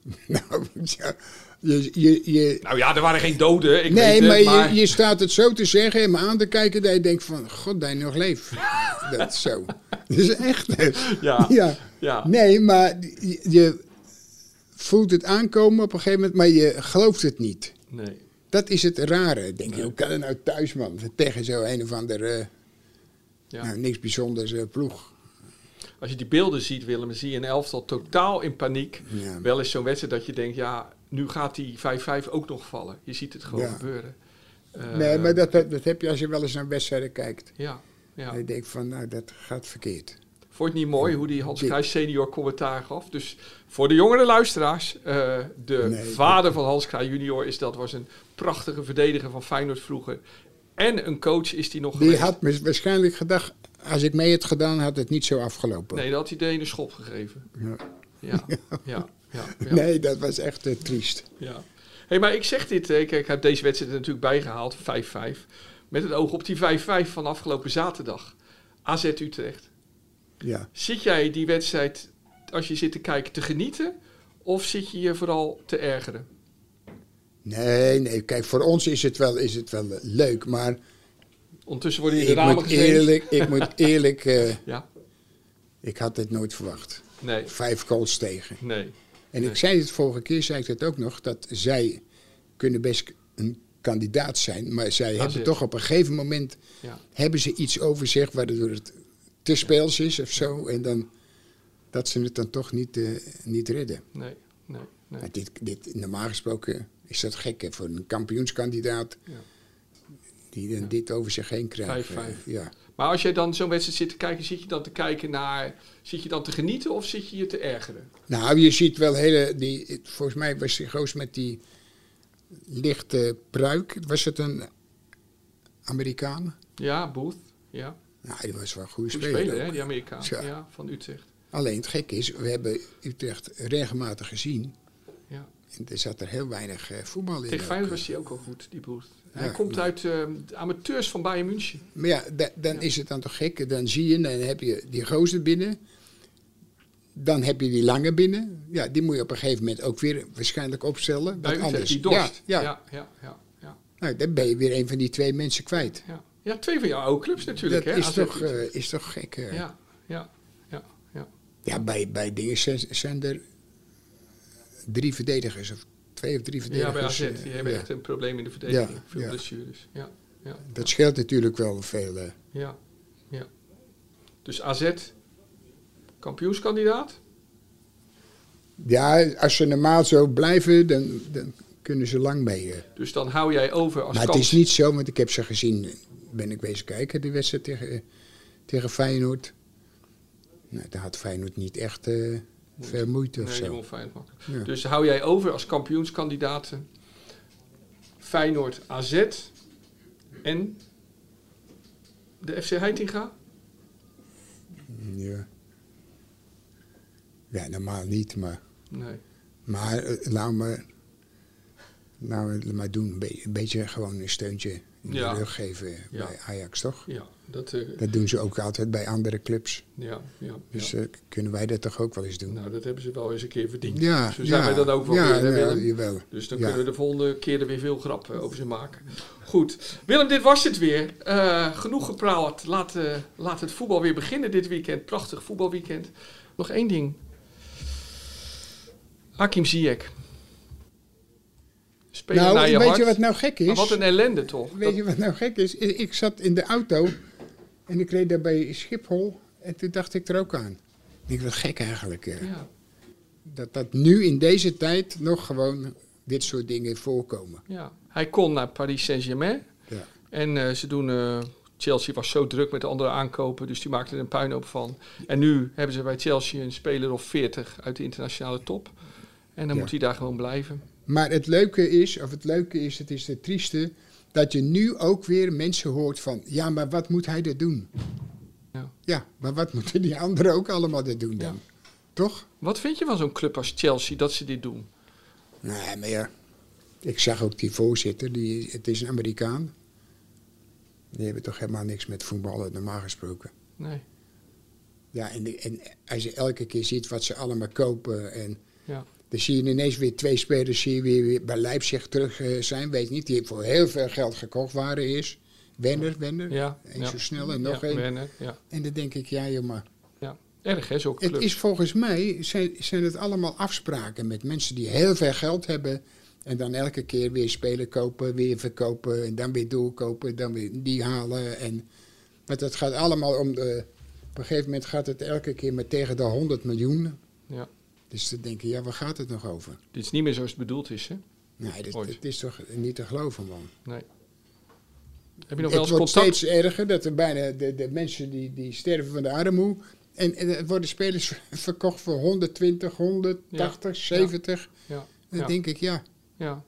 Nou, ja, je, je, je, Nou ja, er waren geen doden. Ik nee, weet het, maar, maar, Je, je staat het zo te zeggen en me aan te kijken dat je denkt van, god, dat je nog leeft. dat is zo. Dat is echt. hè. Ja, ja. ja. Nee, maar je, je voelt het aankomen op een gegeven moment, maar je gelooft het niet. Nee. Dat is het rare. Ik Denk je, hoe kan het nou thuis, man? Tegen zo een of ander, eh, Ja. nou, niks bijzonders eh, ploeg. Als je die beelden ziet, Willem, dan zie je een elftal totaal in paniek. Ja. Wel eens zo'n wedstrijd dat je denkt, ja, nu gaat die 5-5 ook nog vallen. Je ziet het gewoon Ja. gebeuren. Eh, nee, maar dat, dat, dat heb je als je wel eens naar wedstrijden kijkt. Ja, ja. En je denkt van, nou, dat gaat verkeerd. Vond je het niet mooi hoe die Hans Dit- Kruijs senior commentaar gaf? Dus voor de jongere luisteraars, eh, de Nee, vader van Hans Kruijs junior is dat, was een prachtige verdediger van Feyenoord vroeger. En een coach is die nog Die geweest. had mis- waarschijnlijk gedacht, als ik mee had gedaan, had het niet zo afgelopen. Nee, dat had hij de ene schop gegeven. Ja. Ja, ja, ja. ja, Nee, dat was echt eh, triest. Ja. hey, maar ik zeg dit. hè. Kijk, ik heb deze wedstrijd er natuurlijk bijgehaald. 5-5. Met het oog op die 5-5 van afgelopen zaterdag. AZ Utrecht. Ja. Zit jij die wedstrijd, als je zit te kijken, te genieten? Of zit je je vooral te ergeren? Nee, nee, kijk, voor ons is het wel, is het wel eh, leuk, maar Ondertussen worden je de ik ramen moet, gezien. eerlijk, ik moet eerlijk, eh, Ja. ik had dit nooit verwacht. Nee. Vijf goals tegen. Nee. En ik zei het vorige keer, zei ik dat ook nog, dat zij kunnen best een kandidaat zijn, maar zij hebben zit. toch op een gegeven moment Ja. hebben ze iets over zich waardoor het te speels is of zo, en dan dat ze het dan toch niet, eh, niet redden. Nee. Nee. nee. Maar Nou, dit, dit, normaal gesproken is dat gek hè, voor een kampioenskandidaat Ja. die dan dit over zich heen krijgt. Vijf, vijf. Eh, Ja. Maar als jij dan zo'n wedstrijd zit te kijken, zit je dan te kijken naar... Zit je dan te genieten of zit je je te ergeren? Nou, je ziet wel hele. Die, het- volgens mij was die goos met die lichte pruik. Was het een Amerikaan? Ja, Booth. Ja. Nou, die was wel een goede Goed speler. speler, hè, ook. die Amerikaan. Ja. ja, van Utrecht. Alleen het gek is, we hebben Utrecht regelmatig gezien. Ja. En er zat er heel weinig eh, voetbal in. Tegen ook. Feyenoord was hij ook al goed, die Booth. Hij Ja, komt ja. uit eh, de amateurs van Bayern München. Maar ja, da- dan is het dan toch gek. Dan zie je, dan heb je die gozer binnen. Dan heb je die lange binnen. Ja, die moet je op een gegeven moment ook weer waarschijnlijk opstellen. Bij Wat Utrecht, anders. die Dorst. Ja, ja. Ja, ja, ja, ja, Nou, dan ben je weer een van die twee mensen kwijt. ja. Ja, twee van jouw oude clubs natuurlijk. Dat hè, is AZ. toch, eh, is toch gek. eh. Ja, ja, ja, ja, ja. bij, bij dingen zijn, zijn er drie verdedigers. Of twee of drie Ja, bij verdedigers. AZ. Die eh, hebben ja. echt een probleem in de verdediging. Ja, Veel ja. blessures. Ja, ja, Dat scheelt natuurlijk wel veel. eh. ja, ja. Dus AZ, kampioenskandidaat? Ja, als ze normaal zo blijven, dan, dan kunnen ze lang mee. eh. Dus dan hou jij over als Maar het kans. is niet zo, want ik heb ze gezien. Ben ik wezen kijken, die wedstrijd tegen, eh, tegen Feyenoord. Nou, daar had Feyenoord niet echt eh, veel moeite of Nee, die zo. won Feyenoord makkelijk. Ja. Dus hou jij over als kampioenskandidaten Feyenoord AZ en de FC Heitinga? Ja. ja, normaal niet, maar, Nee. maar eh, laat me, laat me het maar doen. Een be- een beetje gewoon een steuntje in Ja. de rug geven Ja. bij Ajax, toch? Ja, dat... eh, Dat doen ze ook altijd bij andere clubs. ja, ja, Dus ja. eh, kunnen wij dat toch ook wel eens doen? Nou, dat hebben ze wel eens een keer verdiend. Ja, Zo zijn ja, wij dan ook wel ja, weer, hè, ja, Willem? jawel. Dus dan Ja. kunnen we de volgende keer er weer veel grappen over ze maken. Goed. Willem, dit was het weer. Eh, genoeg gepraat. Laat, eh, laat het voetbal weer beginnen dit weekend. Prachtig voetbalweekend. Nog één ding. Hakim Ziyech. Spelen Nou, naar je weet hart. je wat nou gek is? Maar wat een ellende toch? Weet je wat nou gek is? I- Ik zat in de auto en ik reed daar bij Schiphol en toen dacht ik er ook aan. Ik denk, wat gek eigenlijk. eh, Dat- ja, Dat dat nu in deze tijd nog gewoon dit soort dingen voorkomen. ja. Hij kon naar Paris Saint-Germain. Ja. En eh, ze doen. eh, Chelsea was zo druk met de andere aankopen, dus die maakte er een puinhoop van. En nu hebben ze bij Chelsea een speler of 40 uit de internationale top. En dan Ja. moet hij daar gewoon blijven. Maar het leuke is, of het leuke is, het is het trieste, dat je nu ook weer mensen hoort van, ja, maar wat moet hij dat doen? Ja. Ja, maar wat moeten die anderen ook allemaal dat doen dan? Toch? Wat vind je van zo'n club als Chelsea dat ze dit doen? Nee, maar ja. Ik zag ook die voorzitter, die, het is een Amerikaan. Die hebben toch helemaal niks met voetballen, normaal gesproken. Nee. Ja, en, en als je elke keer ziet wat ze allemaal kopen en Ja. Dan zie je ineens weer twee spelers zie je weer, weer bij Leipzig terug eh, zijn. Weet niet, die voor heel veel geld gekocht waren eerst. Wenner, Wenner. Ja, Eén ja. zo snel en nog ja, één. Werner, ja, En dan denk ik, ja joh, maar... ja. Erg hè, zo'n club. Het is volgens mij, zijn, zijn het allemaal afspraken met mensen die heel veel geld hebben. En dan elke keer weer spelen kopen, weer verkopen. En dan weer doorkopen, dan weer die halen. En, want het gaat allemaal om de... Op een gegeven moment gaat het elke keer maar tegen de 100 miljoen. Ja. Dus dan denk je, ja, waar gaat het nog over? Dit is niet meer zoals het bedoeld is, hè? Nee, dat, Ooit. dat is toch niet te geloven, man. Nee. Heb je nog wel Het eens wordt contact? steeds erger dat er bijna de, de mensen die, die sterven van de armoe. En, en er worden spelers verkocht voor 120, 180, 70. Ja, Dan ja, denk ik, ja. ja.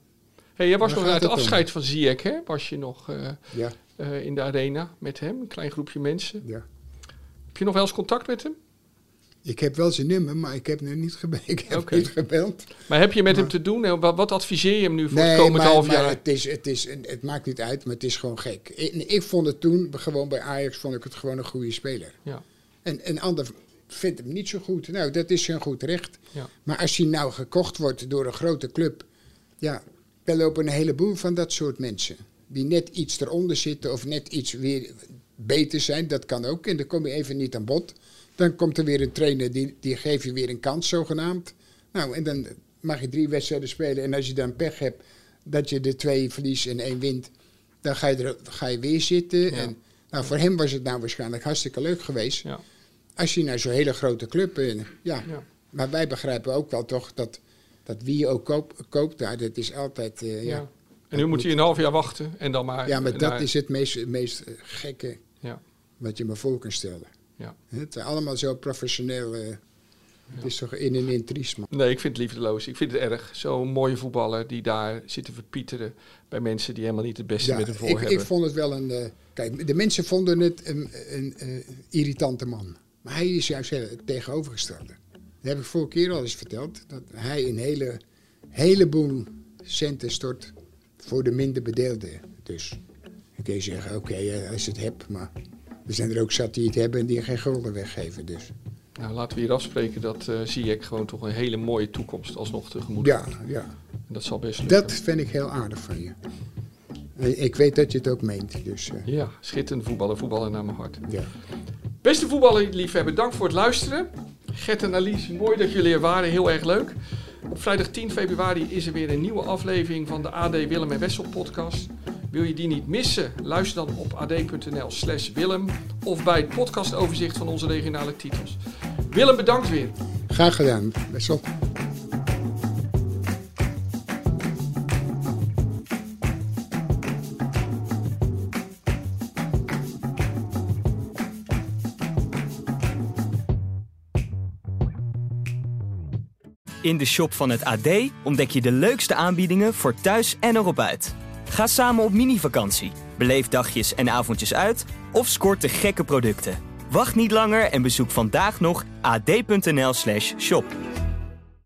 Hey, jij was Waar nog gaat uit het het om? afscheid van Ziyech, hè? Was je nog eh, Ja, eh, in de arena met hem, een klein groepje mensen. ja. Heb je nog wel eens contact met hem? Ik heb wel zijn nummer, maar ik heb nu niet, gebe- ik heb Oké. niet gebeld. Maar heb je met hem te doen? En wat, wat adviseer je hem nu voor Nee, het komende maar, half jaar? maar het, is, het, is, het maakt niet uit, maar het is gewoon gek. Ik, ik vond het toen, gewoon bij Ajax, vond ik het gewoon een goede speler. Ja. En een ander vindt hem niet zo goed. Nou, dat is zijn goed recht. Ja. Maar als hij nou gekocht wordt door een grote club, ja, daar lopen een heleboel van dat soort mensen. Die net iets eronder zitten of net iets weer beter zijn, dat kan ook. En dan kom je even niet aan bod. Dan komt er weer een trainer, die, die geeft je weer een kans zogenaamd. Nou, en dan mag je drie wedstrijden spelen. En als je dan pech hebt dat je de twee verliest en één wint, dan ga je, er, ga je weer zitten. En, nou, voor hem was het nou waarschijnlijk hartstikke leuk geweest. Ja. Als je naar zo'n hele grote club. eh, ja. Ja. Maar wij begrijpen ook wel toch dat, dat wie je ook koop- koopt daar, dat is altijd. eh, Ja. ja. En nu moet hij een half jaar wachten en dan Ja. maar... maar eh, dat naar- is het meest, het meest eh, gekke Ja, wat je me voor kan stellen. ja. Het is allemaal zo professioneel. eh, Het is toch in en in triest, man. Nee, ik vind het liefdeloos. Ik vind het erg. Zo'n mooie voetballer die daar zit te verpieteren bij mensen die helemaal niet het beste met hem voor ik, hebben. ik vond het wel een. eh, kijk, de mensen vonden het een, een eh, irritante man. Maar hij is juist heel- het tegenovergestelde. Dat heb ik vorige keer al eens verteld. Dat hij een hele, heleboel centen stort voor de minder bedeelden. Dus dan kun je zeggen, oké, eh, als je het hebt, maar er zijn er ook zat die het hebben en die geen gulden weggeven. Dus Nou, laten we hier afspreken dat eh Ziyech gewoon toch een hele mooie toekomst alsnog tegemoet ja, ja. En dat zal best lukken. Dat vind ik heel aardig van je. Eh, Ik weet dat je het ook meent, dus eh, Ja, schitterend voetballer. Voetballer naar mijn hart. ja. Beste voetballerliefhebber, dank voor het luisteren. Gert en Alice, mooi dat jullie er waren. Heel erg leuk. Op vrijdag 10 februari is er weer een nieuwe aflevering van de AD Willem en Wessel podcast. Wil je die niet missen? Luister dan op ad.nl slash Willem of bij het podcastoverzicht van onze regionale titels. Willem, bedankt weer. Graag gedaan. Best wel. In de shop van het AD ontdek je de leukste aanbiedingen voor thuis en erop uit. Ga samen op mini-vakantie, beleef dagjes en avondjes uit of scoort de gekke producten. Wacht niet langer en bezoek vandaag nog ad.nl/shop.